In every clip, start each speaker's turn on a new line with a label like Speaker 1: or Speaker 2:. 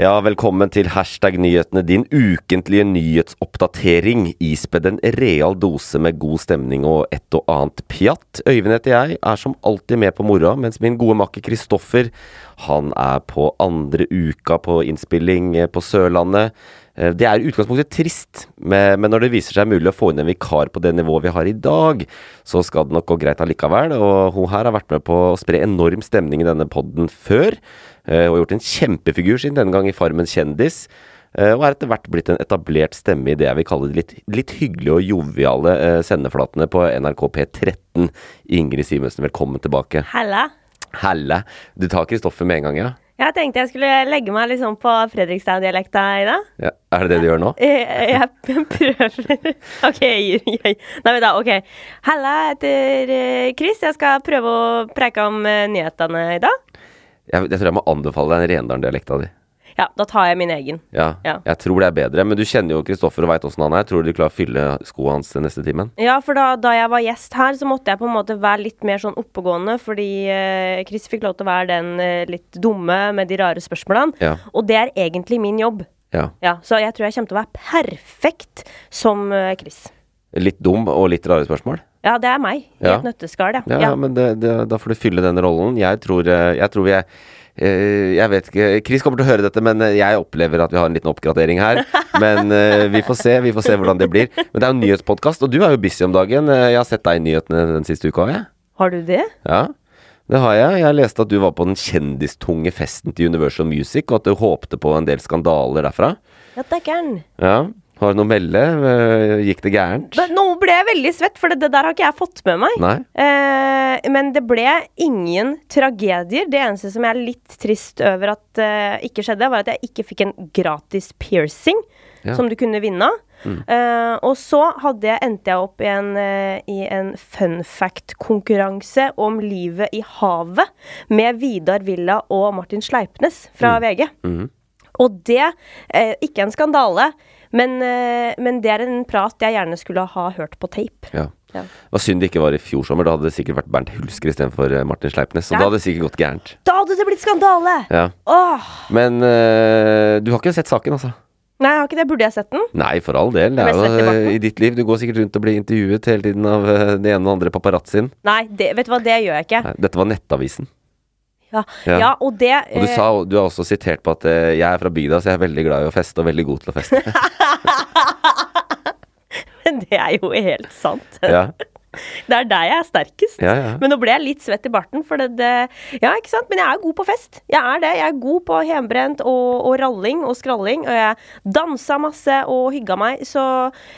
Speaker 1: Ja, velkommen til hashtag nyhetene, din ukentlige nyhetsoppdatering. Ispedd en real dose med god stemning og et og annet pjatt. Øyvind heter jeg, er som alltid med på moroa, mens min gode makker Kristoffer, han er på andre uka på innspilling eh, på Sørlandet. Eh, Det er i utgangspunktet trist, men men når det viser seg mulig å få inn en vikar på det nivået vi har i dag, så skal det nok gå greit allikevel. Og hun her har vært med på å spre enorm stemning i denne podden før. eh, Og gjort en kjempefigur siden denne gang i Farmen kjendis. eh, Og er etter hvert blitt en etablert stemme i det jeg vil kalle de litt, litt hyggelige og joviale eh, sendeflatene på NRK P13. Ingrid Simensen, velkommen tilbake.
Speaker 2: Halla.
Speaker 1: Helle. Du tar Kristoffer med en gang, ja?
Speaker 2: Jeg tenkte jeg skulle legge meg liksom på Fredrikstad-dialekta i dag.
Speaker 1: ja? Er det det du gjør nå?
Speaker 2: Jeg, jeg prøver. OK, jeg gir. jeg gir. Nei, men da, OK. Halla, jeg heter eh, Chris. Jeg skal prøve å preike om eh, nyhetene i dag.
Speaker 1: Jeg, jeg tror jeg må anbefale deg Rendalen-dialekta di.
Speaker 2: Ja, da tar jeg min egen.
Speaker 1: Ja,
Speaker 2: Ja.
Speaker 1: jeg tror det er bedre. Men du kjenner jo Kristoffer og veit åssen han er. Tror du du klarer å fylle skoa hans den neste timen?
Speaker 2: Ja, for da, da jeg var gjest her, så måtte jeg på en måte være litt mer sånn oppegående, fordi eh, Chris fikk lov til å være den eh, litt dumme med de rare spørsmålene.
Speaker 1: Ja.
Speaker 2: Og det er egentlig min jobb.
Speaker 1: Ja.
Speaker 2: Ja, så jeg tror jeg kommer til å være perfekt som eh, Chris.
Speaker 1: Litt dum og litt rare spørsmål?
Speaker 2: Ja, det er meg. I
Speaker 1: Ja.
Speaker 2: et nøtteskall, ja.
Speaker 1: Ja, ja. men det, det, da får du fylle den rollen. Jeg tror, eh, jeg tror vi er eh, jeg vet ikke, Chris kommer til å høre dette, men eh, jeg opplever at vi har en liten oppgradering her. Men eh, vi får se vi får se hvordan det blir. Men det er jo en nyhetspodkast, og du er jo busy om dagen. Eh, Jeg har sett deg i nyhetene den siste uka. Jeg.
Speaker 2: Har du det?
Speaker 1: Ja, det har jeg. Jeg leste at du var på den kjendistunge festen til Universal Music, og at du håpte på en del skandaler derfra.
Speaker 2: Ja, det er gæren.
Speaker 1: Ja, har du noe å melde? Eh, Gikk det gærent?
Speaker 2: Men Nå ble jeg veldig svett, for det, det der har ikke jeg fått med meg.
Speaker 1: Nei?
Speaker 2: Eh, men det ble ingen tragedier. Det eneste som jeg er litt trist over at eh, ikke skjedde, var at jeg ikke fikk en gratis piercing
Speaker 1: Ja. Mm.
Speaker 2: som du kunne vinne av. Eh, og så hadde jeg, endte jeg opp i en, eh, i en fun fact-konkurranse om livet i havet med Vidar Villa og Martin Sleipnes fra
Speaker 1: Mm.
Speaker 2: VG. Og det eh, Ikke en skandale, men, eh, men det er en prat jeg gjerne skulle ha hørt på tape.
Speaker 1: Ja.
Speaker 2: Ja.
Speaker 1: Det var synd det ikke var i fjor sommer. Da hadde det sikkert vært Bernt Hulsker istedenfor eh, Martin Sleipnes. Og
Speaker 2: Ja.
Speaker 1: da hadde det sikkert gått gærent.
Speaker 2: Da hadde det blitt skandale!
Speaker 1: Ja.
Speaker 2: Åh,
Speaker 1: Men eh, du har ikke sett saken, altså?
Speaker 2: nei, jeg har ikke det. Burde jeg sett den?
Speaker 1: Nei, for all del. Det er
Speaker 2: Jeg ble svett i
Speaker 1: jo eh,
Speaker 2: bakken.
Speaker 1: i ditt liv. Du går sikkert rundt og blir intervjuet hele tiden av eh, den ene og den andre paparazzoen.
Speaker 2: Nei, det, vet du hva, det gjør jeg ikke.
Speaker 1: Nei, Dette var Nettavisen.
Speaker 2: Ja,
Speaker 1: Ja.
Speaker 2: ja. og det
Speaker 1: Og du,
Speaker 2: eh,
Speaker 1: sa, du er også sitert på at eh, jeg er fra bygda, så jeg er veldig glad i å feste og veldig god til å feste.
Speaker 2: eh, Det er jo helt sant.
Speaker 1: ja.
Speaker 2: Det er der jeg er sterkest.
Speaker 1: Ja, ja.
Speaker 2: Men nå ble jeg litt svett i barten, for det, det Ja, ikke sant? Men jeg er god på fest. Jeg er det. Jeg er god på hjemmebrent og, og ralling og skralling. Og jeg dansa masse og hygga meg, så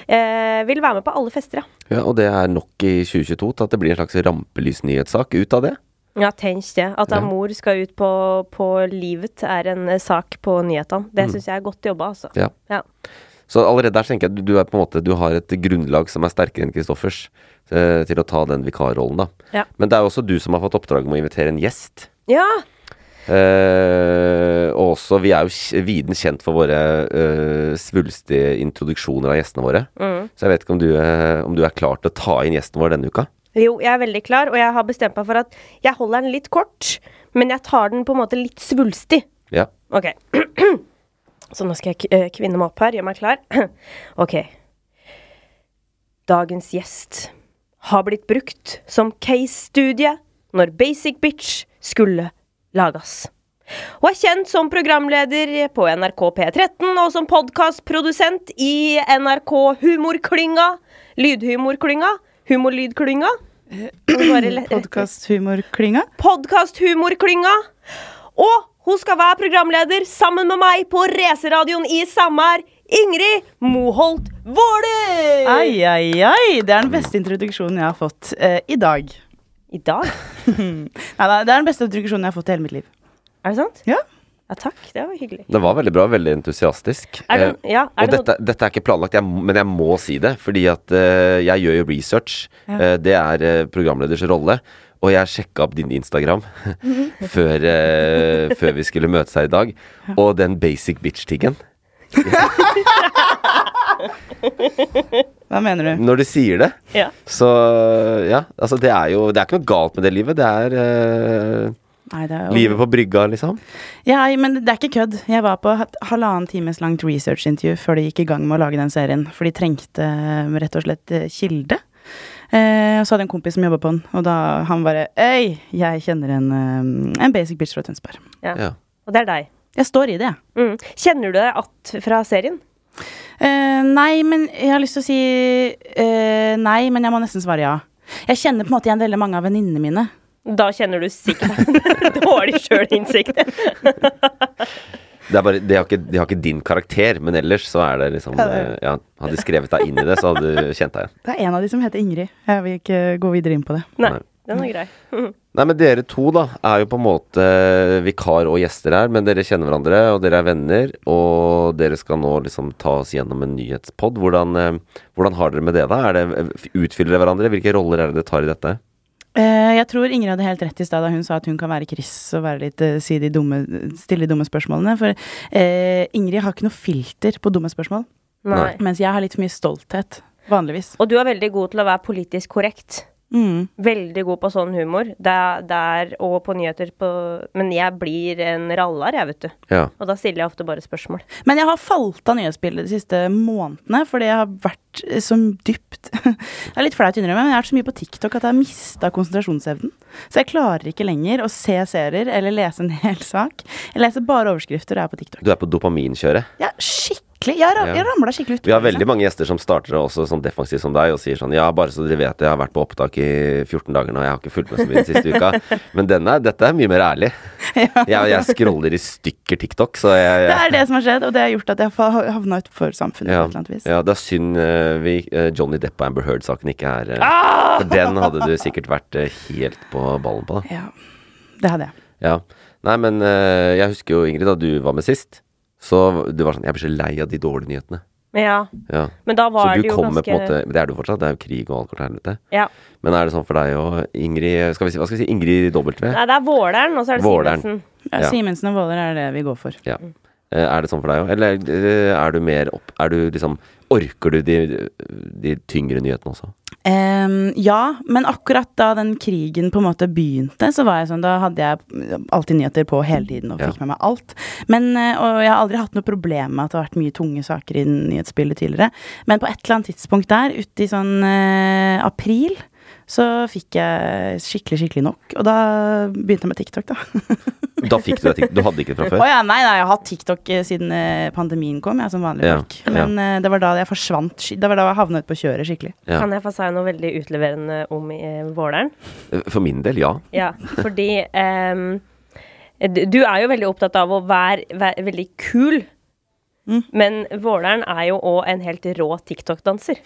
Speaker 2: eh, vil være med på alle fester, ja.
Speaker 1: ja, Og det er nok i 2022 til at det blir en slags rampelysnyhetssak ut av det.
Speaker 2: Ja, tenk det. At da mor skal ut på, på livet, er en eh, sak på nyhetene. Det syns jeg er godt jobba, altså.
Speaker 1: Mm. Ja.
Speaker 2: Ja.
Speaker 1: Så allerede der tenker jeg at du er på en måte Du har et grunnlag som er sterkere enn Kristoffers eh, til å ta den vikarrollen, da.
Speaker 2: Ja.
Speaker 1: Men det er jo også du som har fått oppdrag med å invitere en gjest.
Speaker 2: ja.
Speaker 1: Eh, og også, vi er jo kj- viden kjent for våre eh, svulstige introduksjoner av gjestene våre. Så jeg vet ikke om du, eh, om du er klar til å ta inn gjesten vår denne uka.
Speaker 2: Jo, jeg er veldig klar, og jeg har bestemt meg for at jeg holder den litt kort, men jeg tar den på en måte litt svulstig.
Speaker 1: Ja.
Speaker 2: Ok. Så nå skal jeg k- eh, kvinne meg opp her, gjøre meg klar. ok. Dagens gjest har blitt brukt som case-studie når Basic Bitch skulle lages. Og er kjent som programleder på NRK P13 og som podkastprodusent i NRK Humorklynga. Lydhumorklynga. Humorlydklynga.
Speaker 3: Podkasthumorklynga.
Speaker 2: Podkasthumorklynga. Og hun skal være programleder sammen med meg på racerradioen i Samar, Ingrid Moholt Våler!
Speaker 3: Ai, ai, ai! Det er den beste introduksjonen jeg har fått eh, i dag.
Speaker 2: I dag?
Speaker 3: Nei, nei, det er den beste introduksjonen jeg har fått i hele mitt liv.
Speaker 2: Er det sant?
Speaker 3: Ja.
Speaker 2: Ja, takk. Det var hyggelig.
Speaker 1: Det var veldig bra, veldig entusiastisk.
Speaker 2: Er det-
Speaker 1: Eh,
Speaker 2: ja, er
Speaker 1: og
Speaker 2: det noe-
Speaker 1: dette, dette er ikke planlagt, jeg, må- men jeg må si det. Fordi at eh, jeg gjør jo research. Eh, det er eh, programleders rolle. Og jeg sjekka opp din Instagram
Speaker 2: Mhm.
Speaker 1: før, eh, før vi skulle møtes her i dag. Og den basic bitch-tingen.
Speaker 3: Hva mener du?
Speaker 1: Når du sier det,
Speaker 2: Ja.
Speaker 1: så ja. Altså, det er jo Det er ikke noe galt med det livet. Det er eh,
Speaker 3: Nei, det er jo-
Speaker 1: livet på brygga, liksom.
Speaker 3: Ja, men det er ikke kødd. Jeg var på et halvannen times langt researchintervju før de gikk i gang med å lage den serien. For de trengte eh, rett og slett eh, kilde. Eh, og så hadde jeg en kompis som jobba på den, og da han bare Øy, jeg kjenner en, eh, en basic bitch fra Tønsberg.
Speaker 2: Ja.
Speaker 1: Ja.
Speaker 2: Og det er deg.
Speaker 3: Jeg står i det, jeg.
Speaker 2: Mm. Kjenner du deg att fra serien?
Speaker 3: Eh, nei, men jeg har lyst til å si eh, nei, men jeg må nesten svare ja. Jeg kjenner på en måte igjen veldig mange av venninnene mine.
Speaker 2: Da kjenner du sikkert dårlig sjølinnsikt.
Speaker 1: Det er bare, de, har ikke, de har ikke din karakter, men ellers så er det liksom eh, ja, Hadde de skrevet deg inn i det, så hadde du kjent deg igjen.
Speaker 3: Det er en av de som heter Ingrid. Jeg vil ikke gå videre inn på det.
Speaker 2: Nei, den er grei.
Speaker 1: Nei, men dere to da er jo på en måte vikar og gjester her, men dere kjenner hverandre, og dere er venner, og dere skal nå liksom ta oss gjennom en nyhetspod. Hvordan, eh, hvordan har dere med det, da? Er det, utfyller dere hverandre? Hvilke roller er det dere tar i dette?
Speaker 3: Eh, jeg tror Ingrid hadde helt rett i stad da hun sa at hun kan være Chris og være litt, eh, si de dumme, stille de dumme spørsmålene. For eh, Ingrid har ikke noe filter på dumme spørsmål,
Speaker 2: Nei.
Speaker 3: mens jeg har litt for mye stolthet. Vanligvis.
Speaker 2: Og du er veldig god til å være politisk korrekt.
Speaker 3: Mm.
Speaker 2: Veldig god på sånn humor. Der, der og på nyheter på Men jeg blir en rallar, jeg, vet du.
Speaker 1: Ja.
Speaker 2: Og da stiller jeg ofte bare spørsmål.
Speaker 3: Men jeg har falt av nyhetsbildet de siste månedene, fordi jeg har vært eh, så dypt Det er litt flaut å innrømme, men jeg har vært så mye på TikTok at jeg har mista konsentrasjonsevnen. Så jeg klarer ikke lenger å se serier eller lese en hel sak. Jeg leser bare overskrifter og er på TikTok.
Speaker 1: Du er på dopaminkjøret.
Speaker 3: Jeg er skikkelig Jeg, ra
Speaker 1: Ja.
Speaker 3: jeg ramla skikkelig ut.
Speaker 1: Vi har veldig mange gjester som starter også sånn defensivt som deg og sier sånn Ja, bare så dere vet det, jeg har vært på opptak i 14 dager nå, jeg har ikke fulgt med så mye den siste uka. Men denne, dette er mye mer ærlig. Jeg, jeg scroller i stykker TikTok, så jeg,
Speaker 3: Det
Speaker 1: jeg
Speaker 3: er det som har skjedd, og det har gjort at jeg har havna utenfor samfunnet.
Speaker 1: ja,
Speaker 3: på et eller annet vis
Speaker 1: ja, det er synd eh, vi, eh, Johnny Depp og Amber Heard-saken ikke er eh,
Speaker 3: Ah!
Speaker 1: For den hadde du sikkert vært eh, helt på ballen på, da.
Speaker 3: Ja, Det hadde jeg.
Speaker 1: Ja. Nei, men eh, jeg husker jo, Ingrid, da du var med sist, så du var sånn Jeg blir så lei av de dårlige nyhetene.
Speaker 2: Men ja.
Speaker 1: Ja.
Speaker 2: Men da
Speaker 1: Så
Speaker 2: var
Speaker 1: du
Speaker 2: det jo
Speaker 1: kommer
Speaker 2: ganske
Speaker 1: på en måte Det er du fortsatt, det er jo krig og alt helvete.
Speaker 2: Ja.
Speaker 1: Men er det sånn for deg og Ingrid eh, skal vi si, Hva skal vi si? Ingrid W?
Speaker 2: Nei, det er Våleren, og så er det
Speaker 1: Våleren.
Speaker 2: Simensen.
Speaker 3: Ja,
Speaker 1: Ja.
Speaker 3: Simensen og Våler er det vi går for.
Speaker 1: Ja. Eh, Er det sånn for deg òg? Eller eh, er du mer opp Er du liksom Orker du de, de tyngre nyhetene også?
Speaker 3: Ehm, ja, men akkurat da den krigen på en måte begynte, så var jeg sånn, da hadde jeg alltid nyheter på hele tiden og fikk med meg alt. Men, eh, og jeg har aldri hatt noe problem med at det har vært mye tunge saker i nyhetsbildet tidligere. Men på et eller annet tidspunkt der, ute i sånn eh, april, så fikk jeg skikkelig, skikkelig nok. Og da begynte jeg med TikTok, da.
Speaker 1: Da fikk du det. ting- Du hadde ikke det fra
Speaker 3: Å
Speaker 1: før?
Speaker 3: ja, nei, nei, jeg har hatt TikTok eh, siden eh, pandemien kom, jeg som vanlig
Speaker 1: Ja,
Speaker 3: folk. Men eh, det var da jeg forsvant, sk- det var da jeg havna ut på kjøret skikkelig.
Speaker 1: Ja.
Speaker 2: Kan jeg få si noe veldig utleverende om eh, Våleren?
Speaker 1: For min del, ja.
Speaker 2: Ja, fordi ehm, du- Du er jo veldig opptatt av å være, være veldig kul. Men Våleren er jo òg en helt rå TikTok-danser.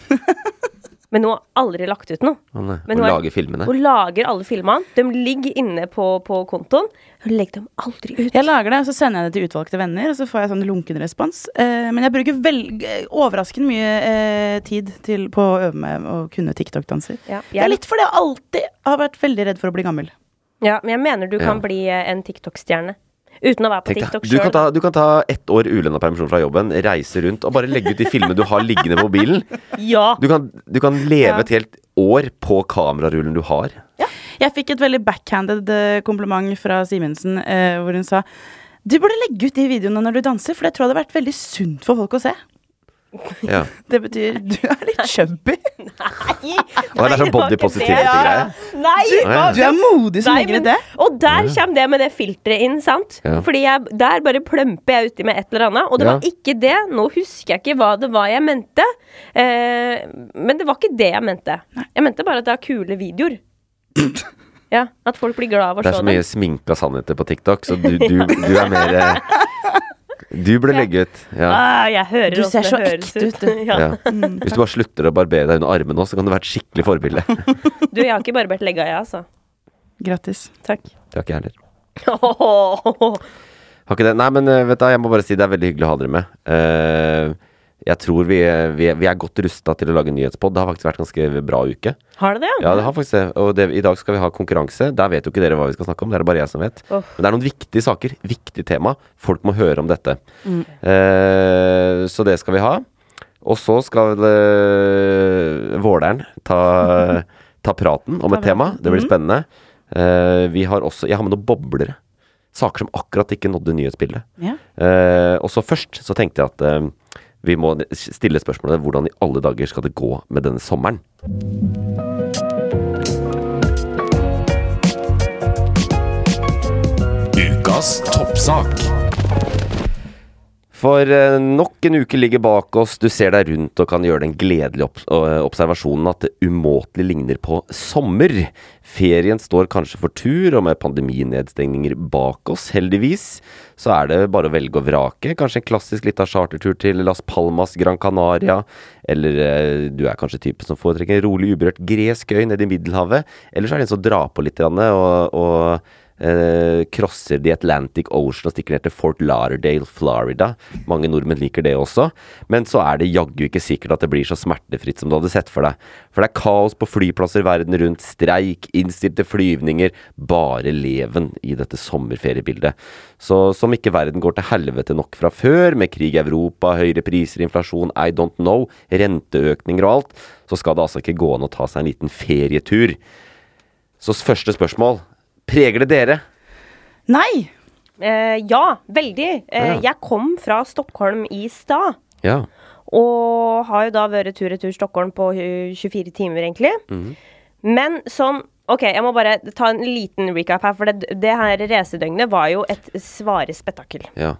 Speaker 2: Men hun har aldri lagt ut noe.
Speaker 1: Å nei, Å
Speaker 2: Men hun er-
Speaker 1: eh, lage filmene.
Speaker 2: Hun lager alle filmene. De ligger inne på, på kontoen. Hun legger dem aldri ut.
Speaker 3: Jeg lager det, og så sender jeg det til utvalgte venner, og så får jeg sånn lunken respons. Eh, men jeg bruker vel, eh, overraskende mye eh, tid til, på å øve meg å kunne TikTok-danser.
Speaker 2: Ja,
Speaker 3: Det er
Speaker 2: jeg,
Speaker 3: litt fordi jeg alltid har vært veldig redd for å bli gammel.
Speaker 2: ja, men jeg mener du kan
Speaker 1: Ja.
Speaker 2: bli eh, en TikTok-stjerne. Uten å være på
Speaker 1: Tenk deg,
Speaker 2: TikTok
Speaker 1: du, kan
Speaker 2: sjøl.
Speaker 1: ta, du kan ta ett år ulønna permisjon fra jobben, reise rundt og bare legge ut de filmene du har liggende på mobilen.
Speaker 2: Ja.
Speaker 1: Du kan, du kan leve et helt år på kamerarullen du har.
Speaker 3: Jeg fikk et veldig backhanded eh, kompliment fra Simensen, eh, hvor hun sa Du burde legge ut de videoene når du danser, for det tror jeg hadde vært veldig sunt for folk å se.
Speaker 1: Ja.
Speaker 3: Det betyr du er litt chubby.
Speaker 1: Og det er sånn body positivity-greie.
Speaker 2: Nei!
Speaker 1: Ja,
Speaker 3: Du er modig som
Speaker 2: Nei,
Speaker 3: legger
Speaker 2: men-
Speaker 3: ut det.
Speaker 2: Og der kommer det med det filteret inn, sant?
Speaker 1: Ja.
Speaker 2: Fordi jeg, der bare plømper jeg uti med et eller annet. Og det
Speaker 1: Ja.
Speaker 2: var ikke det. Nå husker jeg ikke hva det var jeg mente. Eh, men det var ikke det jeg mente. Jeg mente bare at det er kule videoer. ja, At folk blir glad av å
Speaker 1: Det er
Speaker 2: se
Speaker 1: så
Speaker 2: dem.
Speaker 1: mye sminka sannheter på TikTok, så du, du, du er mer eh, Du burde legge ut. Ja.
Speaker 2: Ah, jeg hører
Speaker 3: Du
Speaker 2: hvordan
Speaker 3: ser
Speaker 2: det
Speaker 3: så
Speaker 2: høres
Speaker 3: ekte ut, du.
Speaker 2: ja.
Speaker 1: Ja. Hvis du bare slutter å barbere deg under armene nå, så kan du være et skikkelig forbilde. Det
Speaker 2: Du, jeg har ikke barbert legga, jeg, altså.
Speaker 3: Grattis.
Speaker 2: Takk.
Speaker 1: har ikke jeg heller.
Speaker 2: altså.
Speaker 1: Har ikke det. Nei, men eh, vet du, hva, jeg må bare si det er veldig hyggelig å ha dere med. Eh, jeg tror vi, vi, vi er godt rusta til å lage nyhetspod. Det har faktisk vært en ganske bra uke.
Speaker 2: Har du det,
Speaker 1: Ja, det har faktisk det. Og det, i dag skal vi ha konkurranse. Der vet jo ikke dere hva vi skal snakke om. Det er det bare jeg som vet.
Speaker 2: Åh.
Speaker 1: Men det er noen viktige saker. Viktig tema. Folk må høre om dette. Eh, så det skal vi ha. Og så skal eh, Våler'n ta, ta praten om et tema. Det blir spennende. Eh, vi har også Jeg har med noen boblere. Saker som akkurat ikke nådde nyhetsbildet.
Speaker 3: Ja.
Speaker 1: Eh, og så først så tenkte jeg at eh, vi må stille spørsmålet hvordan i alle dager skal det gå med denne sommeren?
Speaker 4: Ukas toppsak.
Speaker 1: For eh, nok en uke ligger bak oss. Du ser deg rundt og kan gjøre den gledelige obs øh, observasjonen at det umåtelig ligner på sommer. Ferien står kanskje for tur, og med pandeminedstengninger bak oss, heldigvis, så er det bare å velge og vrake. Kanskje en klassisk lita chartertur til Las Palmas, Gran Canaria, eller eh, du er kanskje typen som foretrekker en rolig, uberørt gresk øy nede i Middelhavet, eller så er det en som drar på litt grann, og, og Eh, crosser The Atlantic Ocean og stikker ned til Fort Lauderdale, Florida. Mange nordmenn liker det også. Men så er det jaggu ikke sikkert at det blir så smertefritt som du hadde sett for deg. For det er kaos på flyplasser verden rundt, streik, innstilte flyvninger. Bare leven i dette sommerferiebildet. Så som ikke verden går til helvete nok fra før, med krig i Europa, høyere priser, inflasjon, I don't know, renteøkninger og alt, så skal det altså ikke gå an å ta seg en liten ferietur. Så første spørsmål. Preger det dere?
Speaker 3: Nei!
Speaker 2: Eh, ja, veldig. Eh,
Speaker 1: Ja.
Speaker 2: Jeg kom fra Stockholm i stad.
Speaker 1: Ja.
Speaker 2: Og har jo da vært tur-retur Stockholm på eh, 24 timer, egentlig.
Speaker 1: Mhm.
Speaker 2: Men sånn OK, jeg må bare ta en liten recap her, for det, det her racedøgnet var jo et svare spetakkel.
Speaker 1: Ja.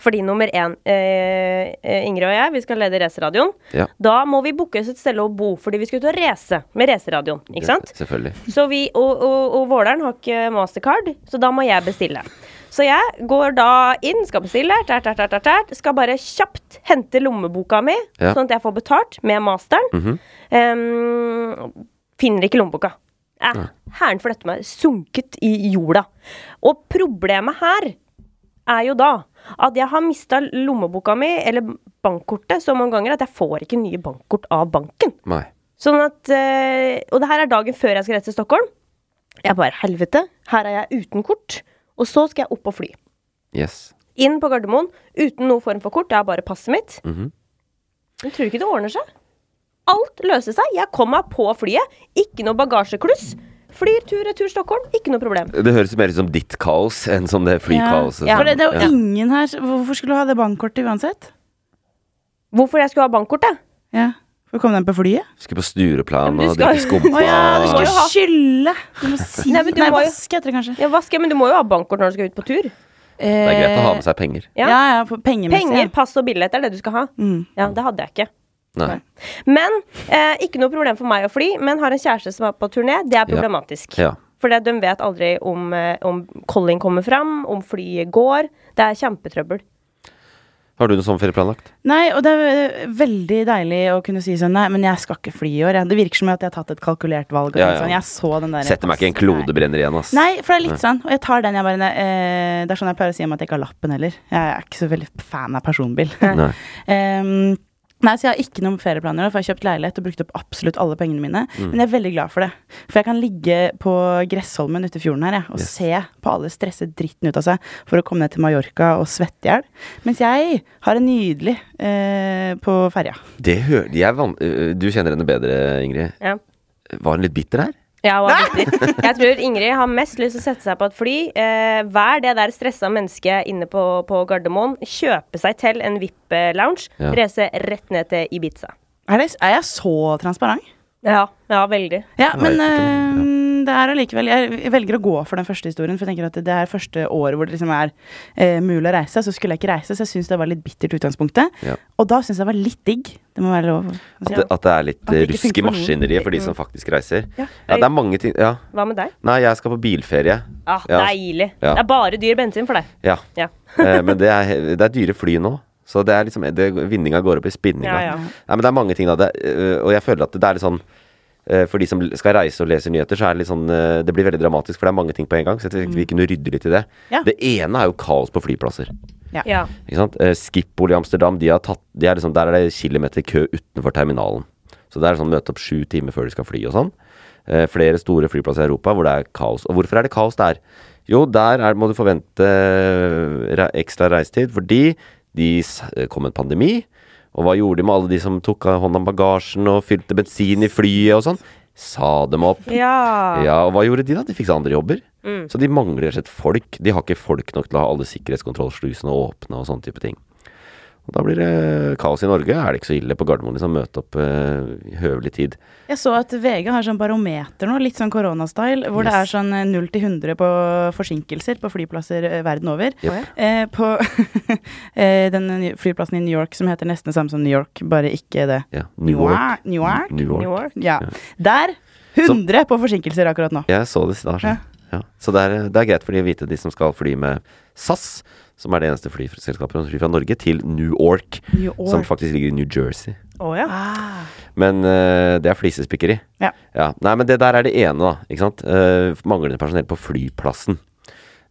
Speaker 2: Fordi nummer én, eh, eh, Ingrid og jeg, vi skal lede racerradioen.
Speaker 1: Ja.
Speaker 2: Da må vi booke oss et sted å bo, fordi vi skulle ut og race med racerradioen. Ikke sant?
Speaker 1: Ja, selvfølgelig.
Speaker 2: Så vi, og, og, og Våleren har ikke mastercard, så da må jeg bestille. Så jeg går da inn, skal bestille, tært, tært, tært, tært, tært, skal bare kjapt hente lommeboka mi,
Speaker 1: Ja.
Speaker 2: sånn at jeg får betalt med masteren. Em, finner ikke lommeboka. Eh, Hæren flytter meg, sunket i jorda. Og problemet her er jo da at jeg har mista lommeboka mi, eller bankkortet, så mange ganger at jeg får ikke nye bankkort av banken.
Speaker 1: Nei.
Speaker 2: Sånn at, eh, og det her er dagen før jeg skal reise til Stockholm. Jeg bare helvete, her er jeg uten kort. Og så skal jeg opp og fly.
Speaker 1: Yes.
Speaker 2: Inn på Gardermoen uten noen form for kort. Det er bare passet mitt.
Speaker 1: Mhm.
Speaker 2: Men tror du ikke det ordner seg? Alt løser seg. Jeg kom meg på flyet. Ikke noe bagasjekluss. Flyr tur-retur Stockholm. Ikke noe problem.
Speaker 1: Det høres mer ut som ditt kaos enn som det flykaoset.
Speaker 2: Ja,
Speaker 3: For det, det er jo
Speaker 1: Ja.
Speaker 3: ingen her så- Hvorfor skulle du ha det bankkortet uansett?
Speaker 2: Hvorfor jeg skulle ha bankkort, da?
Speaker 3: Ja. For å komme deg på flyet?
Speaker 1: Skulle på Stureplan
Speaker 2: Men du
Speaker 1: og
Speaker 2: skal-
Speaker 1: drikke skumpa.
Speaker 3: Å ja, du
Speaker 2: må
Speaker 3: skal
Speaker 2: jo ha-
Speaker 3: skylle! Du må si
Speaker 2: Nei,
Speaker 3: Nei,
Speaker 2: men du må jo-
Speaker 3: vaske heter det kanskje.
Speaker 2: Ja, hva skal jeg, men du må jo ha bankkort når du skal ut på tur.
Speaker 1: Det er greit å ha med seg penger.
Speaker 2: Ja.
Speaker 3: Eh, Ja, ja, på pengemessig.
Speaker 2: Penger,
Speaker 3: ja.
Speaker 2: pass og billett er det du skal ha.
Speaker 3: Mm.
Speaker 2: Ja, det hadde jeg ikke.
Speaker 1: Nei.
Speaker 2: Men eh, ikke noe problem for meg å fly, men har en kjæreste som er på turné. Det er problematisk.
Speaker 1: Ja.
Speaker 2: For det- de vet aldri om, eh, om Colin kommer fram, om flyet går. Det er kjempetrøbbel.
Speaker 1: Har du noe sommerferie planlagt?
Speaker 3: Nei, og det er eh, veldig deilig å kunne si sånn Nei, men jeg skal ikke fly i år. jeg. Det virker som at jeg har tatt et kalkulert valg. Og
Speaker 1: Ja,
Speaker 3: tenkt
Speaker 1: ja.
Speaker 3: Sånn. Jeg så den der
Speaker 1: Setter meg ikke i en Mm. klodebrenner igjen, ass.
Speaker 3: Nei, for det er litt sånn. Og jeg tar den jeg bare nei, eh, Det er sånn jeg pleier å si om at jeg ikke har lappen heller. Jeg er ikke så veldig fan av personbil.
Speaker 1: Nei.
Speaker 3: Em, Ehm, nei, så jeg har ikke noen ferieplaner, nå, for jeg har kjøpt leilighet og brukt opp absolutt alle pengene mine. Men jeg er veldig glad for det. For jeg kan ligge på Gressholmen ute i fjorden her jeg, og se på alle stresse dritten ut av seg for å komme ned til Mallorca og svette i hjel. Mens jeg har det nydelig eh, på ferja.
Speaker 1: Det hører jeg van øh, Du kjenner henne bedre, Ingrid.
Speaker 2: Ja.
Speaker 1: Var hun litt bitter her?
Speaker 2: Ja, og aborter. Jeg tror Ingrid har mest lyst til å sette seg på et fly, eh, vær det der stressa mennesket inne på, på Gardermoen, kjøpe seg til en VIP-lounge,
Speaker 1: Ja.
Speaker 2: reise rett ned til Ibiza.
Speaker 3: Er, det, er jeg så transparent?
Speaker 2: Ja, ja, veldig.
Speaker 3: Ja,
Speaker 1: Jeg
Speaker 3: men
Speaker 1: vet ikke,
Speaker 3: eh, det er allikevel Jeg velger å gå for den første historien, for jeg tenker at det er første året hvor det liksom er eh, mulig å reise. Så skulle jeg ikke reise, så jeg syns det var litt bittert i utgangspunktet.
Speaker 1: Ja.
Speaker 3: Og da syns jeg det var litt digg. Det må være lov. å
Speaker 1: At
Speaker 3: si.
Speaker 1: det, at det er litt eh,
Speaker 3: At det ikke
Speaker 1: rusk i
Speaker 3: funker for noen.
Speaker 1: maskineriet for de som faktisk reiser.
Speaker 3: Ja.
Speaker 1: Ja, det er mange ting Ja.
Speaker 2: Hva med deg?
Speaker 1: Nei, jeg skal på bilferie.
Speaker 2: Ah,
Speaker 1: Ja.
Speaker 2: Deilig.
Speaker 1: Ja.
Speaker 2: Det er bare dyr bensin for deg.
Speaker 1: Ja.
Speaker 2: Ja.
Speaker 1: Eh, men det er, det er dyre fly nå. Så det er liksom det, Vinninga går opp i spinninga.
Speaker 2: Ja, ja.
Speaker 1: Nei, men det er mange ting da. Det, eh, og jeg føler at det er litt sånn eh, For de som skal reise og leser nyheter, så er det litt sånn eh, Det blir veldig dramatisk, for det er mange ting på en gang. Så jeg tenkte
Speaker 2: Mm.
Speaker 1: vi kunne rydde litt i det.
Speaker 3: Ja.
Speaker 1: Det ene er jo kaos på flyplasser.
Speaker 2: Ja.
Speaker 1: Ikke sant? Eh, Schiphol i Amsterdam, de har tatt, de er liksom, der er det kilometerkø utenfor terminalen. Så det er sånn møte opp sju timer før de skal fly og sånn. Eh, flere store flyplasser i Europa hvor det er kaos. Og hvorfor er det kaos der? Jo, der er, må du forvente eh, re ekstra reisetid fordi de s- eh, kom en pandemi. Og hva gjorde de med alle de som tok av hånd om bagasjen og fylte bensin i flyet og sånn? Sa dem opp.
Speaker 2: Ja.
Speaker 1: Ja, og hva gjorde de da? De fikk seg andre jobber. Så de mangler rett og slett folk. De har ikke folk nok til å ha alle sikkerhetskontrollslusene åpne og sånne type ting. Og da blir det kaos i Norge. Er det ikke så ille på Gardermoen liksom møte opp eh, i høvelig tid?
Speaker 3: Jeg så at VG har sånn barometer nå, litt sånn koronastyle, hvor det er
Speaker 1: Yes.
Speaker 3: sånn eh, 0 til 100 på forsinkelser på flyplasser eh, verden over.
Speaker 1: Jep.
Speaker 3: Eh, på eh, den nye flyplassen i New York som heter nesten det samme som New York, bare ikke det.
Speaker 1: Ja, Newark.
Speaker 3: New York.
Speaker 1: New York.
Speaker 2: New York.
Speaker 3: Ja. Der 100 på forsinkelser akkurat nå.
Speaker 1: Jeg så det snart. Ja. Ja. Så det er, det er greit for de å vite, de som skal fly med SAS, som er det eneste flyselskapet som flyr fra Norge, til New York,
Speaker 3: New York.
Speaker 1: som faktisk ligger i New Jersey.
Speaker 2: Å ja.
Speaker 3: Ah.
Speaker 1: Men eh, det er flisespikkeri.
Speaker 3: Ja.
Speaker 1: Nei, men det der er det ene, da. Ikke sant? Eh, manglende personell på flyplassen.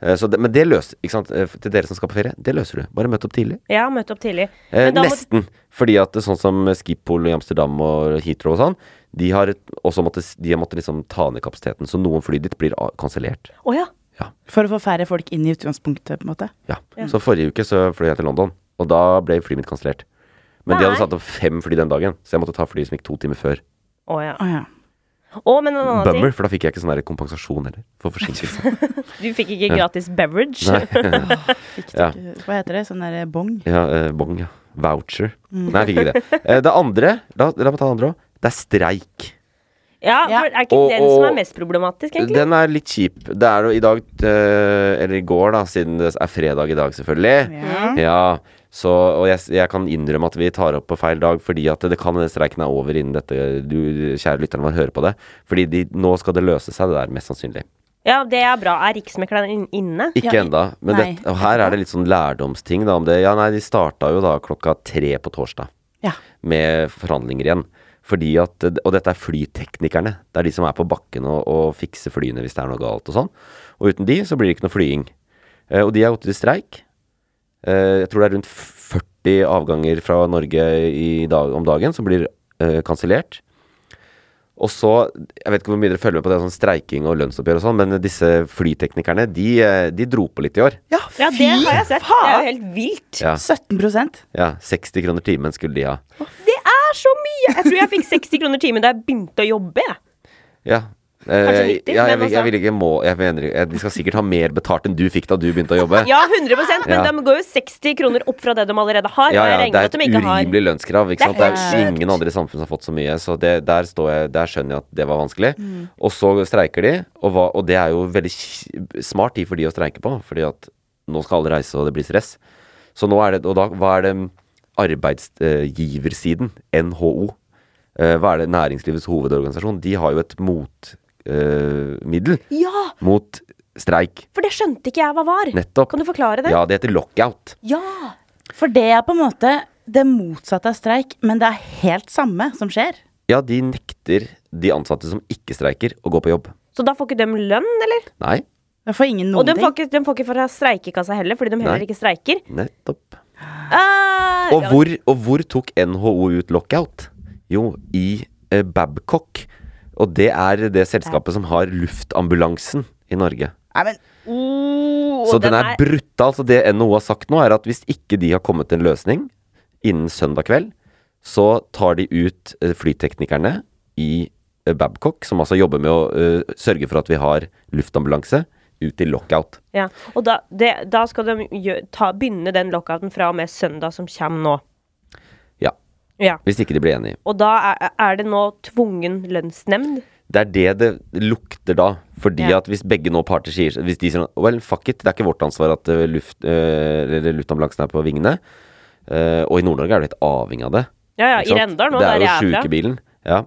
Speaker 1: Eh, så det, men det løser ikke sant? Eh, Til dere som skal på ferie, det løser du. Bare møt opp tidlig.
Speaker 2: Jeg har møtt opp tidlig.
Speaker 1: Eh,
Speaker 2: Men da må-
Speaker 1: nesten. Fordi at det er sånn som Schiphol i Amsterdam og Heathrow og sånn, de har et- også måttet, de har måttet liksom ta ned kapasiteten. Så noen fly dit blir a- kansellert.
Speaker 2: Å ja.
Speaker 3: For å få færre folk inn i utgangspunktet, på en måte.
Speaker 1: Ja. Så forrige uke så fløy jeg til London, og da ble flyet mitt kansellert. Men de hadde
Speaker 2: Nei.
Speaker 1: satt opp fem fly den dagen, så jeg måtte ta flyet som gikk to timer før.
Speaker 2: Å ja.
Speaker 3: Å ja.
Speaker 2: Å, men en annen
Speaker 1: Bummer, for da fikk jeg ikke sånn der kompensasjon heller. For forsinkelse.
Speaker 2: ting. Du fikk ikke gratis beverage.
Speaker 3: Fikk
Speaker 1: Ja.
Speaker 3: dere- Hva heter det? Sånn der eh, bong?
Speaker 1: Ja, eh, bong, ja. Voucher.
Speaker 3: Mm.
Speaker 1: Nei, jeg fikk ikke det. Eh, det andre, la, la meg ta det andre òg. Det er streik.
Speaker 2: Ja,
Speaker 3: Ja.
Speaker 2: for er ikke
Speaker 1: Og-
Speaker 2: den som
Speaker 1: og-
Speaker 2: er mest problematisk, egentlig?
Speaker 1: Den er litt kjip. Det er jo i dag, eh, eller i går, da, siden det er fredag i dag, selvfølgelig.
Speaker 3: Ja.
Speaker 1: Ja, så, og jeg, jeg kan innrømme at vi tar opp på feil dag, fordi at det kan hende streiken er over innen dette du, kjære lytteren vår, hører på det. Fordi de, nå skal det løse seg, det der, mest sannsynlig.
Speaker 2: Ja, det er bra. Er Riksmekleren inn- inne?
Speaker 1: Ikke
Speaker 3: Ja, i-
Speaker 1: enda, men
Speaker 3: nei,
Speaker 1: det, og her er det litt sånn lærdomsting da om det. Ja, nei, de starta jo da klokka tre på torsdag
Speaker 3: Ja.
Speaker 1: med forhandlinger igjen. Fordi at, Og dette er flyteknikerne. Det er de som er på bakken og, og fikser flyene hvis det er noe galt og sånn. Og uten de så blir det ikke noe flying. Eh, og de har gått til streik. Eh, jeg tror det er rundt 40 avganger fra Norge i dag, om dagen som blir eh, kansellert. Og så, jeg vet ikke hvor mye dere følger med på det, sånn streiking og lønnsoppgjør og sånn, men disse flyteknikerne, de, eh, de dro på litt i år.
Speaker 3: ja,
Speaker 2: Ja, det har jeg sett. Det er jo
Speaker 3: faen!
Speaker 2: helt vilt.
Speaker 1: Ja,
Speaker 3: 17
Speaker 1: ja 60 kroner timen skulle de ha.
Speaker 2: Det er så mye! Jeg tror jeg fikk 60 kroner timen da jeg begynte å jobbe. jeg.
Speaker 1: Ja.
Speaker 2: Kanskje
Speaker 1: Eh,
Speaker 2: riktig,
Speaker 1: ja, jeg,
Speaker 2: men
Speaker 1: vil-
Speaker 2: altså-
Speaker 1: jeg vil ikke må jeg mener, jeg, De skal sikkert ha mer betalt enn du fikk da du begynte å jobbe.
Speaker 2: Ja, 100 men
Speaker 1: Ja.
Speaker 2: de går jo 60 kroner opp fra det de allerede har.
Speaker 1: Ja,
Speaker 2: og
Speaker 1: ja,
Speaker 2: jeg regner
Speaker 1: det er
Speaker 2: med
Speaker 1: et
Speaker 2: at de ikke har
Speaker 1: urimelig lønnskrav. Ikke
Speaker 2: Det er
Speaker 1: sant? Det er
Speaker 2: helt sjukt.
Speaker 1: ingen andre i samfunnet som har fått så mye. Så det, der, står jeg, der skjønner jeg at det var vanskelig.
Speaker 2: Mm.
Speaker 1: Og så streiker de, og, hva, og det er jo veldig kj- smart tid for de å streike på. Fordi at nå skal alle reise, og det blir stress. Så nå er det, og da, hva er det eh, arbeidsgiversiden, NHO, eh, hva er det næringslivets hovedorganisasjon, de har jo et eh, motmiddel
Speaker 2: Ja,
Speaker 1: mot streik.
Speaker 2: for det skjønte ikke jeg hva var.
Speaker 1: Nettopp.
Speaker 2: Kan du forklare det?
Speaker 1: Ja, det heter lockout.
Speaker 2: Ja.
Speaker 3: For det er på en måte det motsatte av streik, men det er helt samme som skjer.
Speaker 1: Ja, de nekter de ansatte som ikke streiker, å gå på jobb.
Speaker 2: Så da får ikke de lønn, eller?
Speaker 1: Nei,
Speaker 3: Da får ingen
Speaker 2: Og
Speaker 3: noen
Speaker 2: de
Speaker 3: ting.
Speaker 2: får, ikke, de får ikke fra streikekassa heller, fordi de heller
Speaker 1: Nei.
Speaker 2: ikke streiker.
Speaker 1: nettopp.
Speaker 2: Ah,
Speaker 1: Og hvor, og hvor tok NHO ut lockout? Jo, i eh, Babcock. Og det er det selskapet som har luftambulansen i Norge.
Speaker 3: Nei, men
Speaker 2: oh,
Speaker 1: Så den er brutal. Så det NHO har sagt nå, er at hvis ikke de har kommet til en løsning innen søndag kveld, så tar de ut eh, flyteknikerne i eh, eh, Babcock, som altså jobber med å eh, sørge for at vi har luftambulanse, ut i lockout.
Speaker 2: Ja. Og da, det, da skal de gjø- ta, begynne den lockouten fra og med søndag som kommer nå.
Speaker 1: Ja.
Speaker 2: Ja.
Speaker 1: Hvis ikke de blir enige.
Speaker 2: Og da er, er det nå tvungen lønnsnemnd.
Speaker 1: Det er det det lukter da. Fordi
Speaker 2: Ja.
Speaker 1: at hvis begge nå parter sier Hvis de sier sånn Well, fuck it, det er ikke vårt ansvar at eh, luft, eh, eller luftambulansen er på vingene. eh, og i Nord-Norge er du helt avhengig av det.
Speaker 2: Ja, ja,
Speaker 1: ikke sant?
Speaker 2: i Rendalen nå,
Speaker 1: Det er
Speaker 2: der
Speaker 1: jo
Speaker 2: jeg er fra.
Speaker 1: sjukebilen. Ja.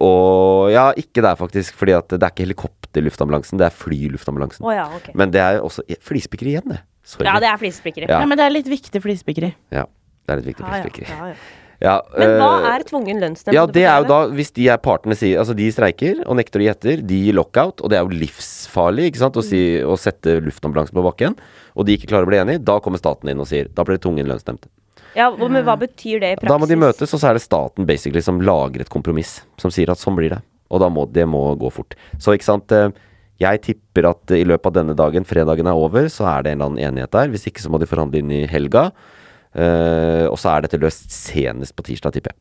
Speaker 1: Og ja, ikke der faktisk, fordi at det er ikke helikopterluftambulansen, det er flyluftambulansen.
Speaker 2: Å ja, ok.
Speaker 1: Men det er jo også flispikkeri igjen, det. Sorry.
Speaker 2: Ja, det er flisespikkeri.
Speaker 1: Ja.
Speaker 3: Ja, men det er litt viktig flisespikkeri.
Speaker 1: Ja, det er litt viktig
Speaker 2: Ja, ja,
Speaker 1: flispikkeri.
Speaker 2: ja, ja.
Speaker 1: Ja,
Speaker 2: Men hva
Speaker 1: eh,
Speaker 2: er tvungen lønnsnemnd?
Speaker 1: ja,
Speaker 2: Kan du
Speaker 1: det er jo
Speaker 2: forklare?
Speaker 1: da hvis de er partene sier Altså, de streiker og nekter å gi etter. De gir lockout, og det er jo livsfarlig ikke sant, å, si,
Speaker 2: Mm.
Speaker 1: å sette luftambulansen på bakken. Og de ikke klarer å bli enige. Da kommer staten inn og sier Da blir det tungen lønnsstemt.
Speaker 2: Ja, hva- Men hva betyr det i praksis?
Speaker 1: Da må de møtes, og så er det staten basically som lager et kompromiss. Som sier at sånn blir det. Og da må det må gå fort. Så ikke sant eh, Jeg tipper at i løpet av denne dagen, fredagen er over, så er det en eller annen enighet der. Hvis ikke så må de forhandle inn i helga. Eh, og så er dette løst senest på tirsdag, tipper jeg.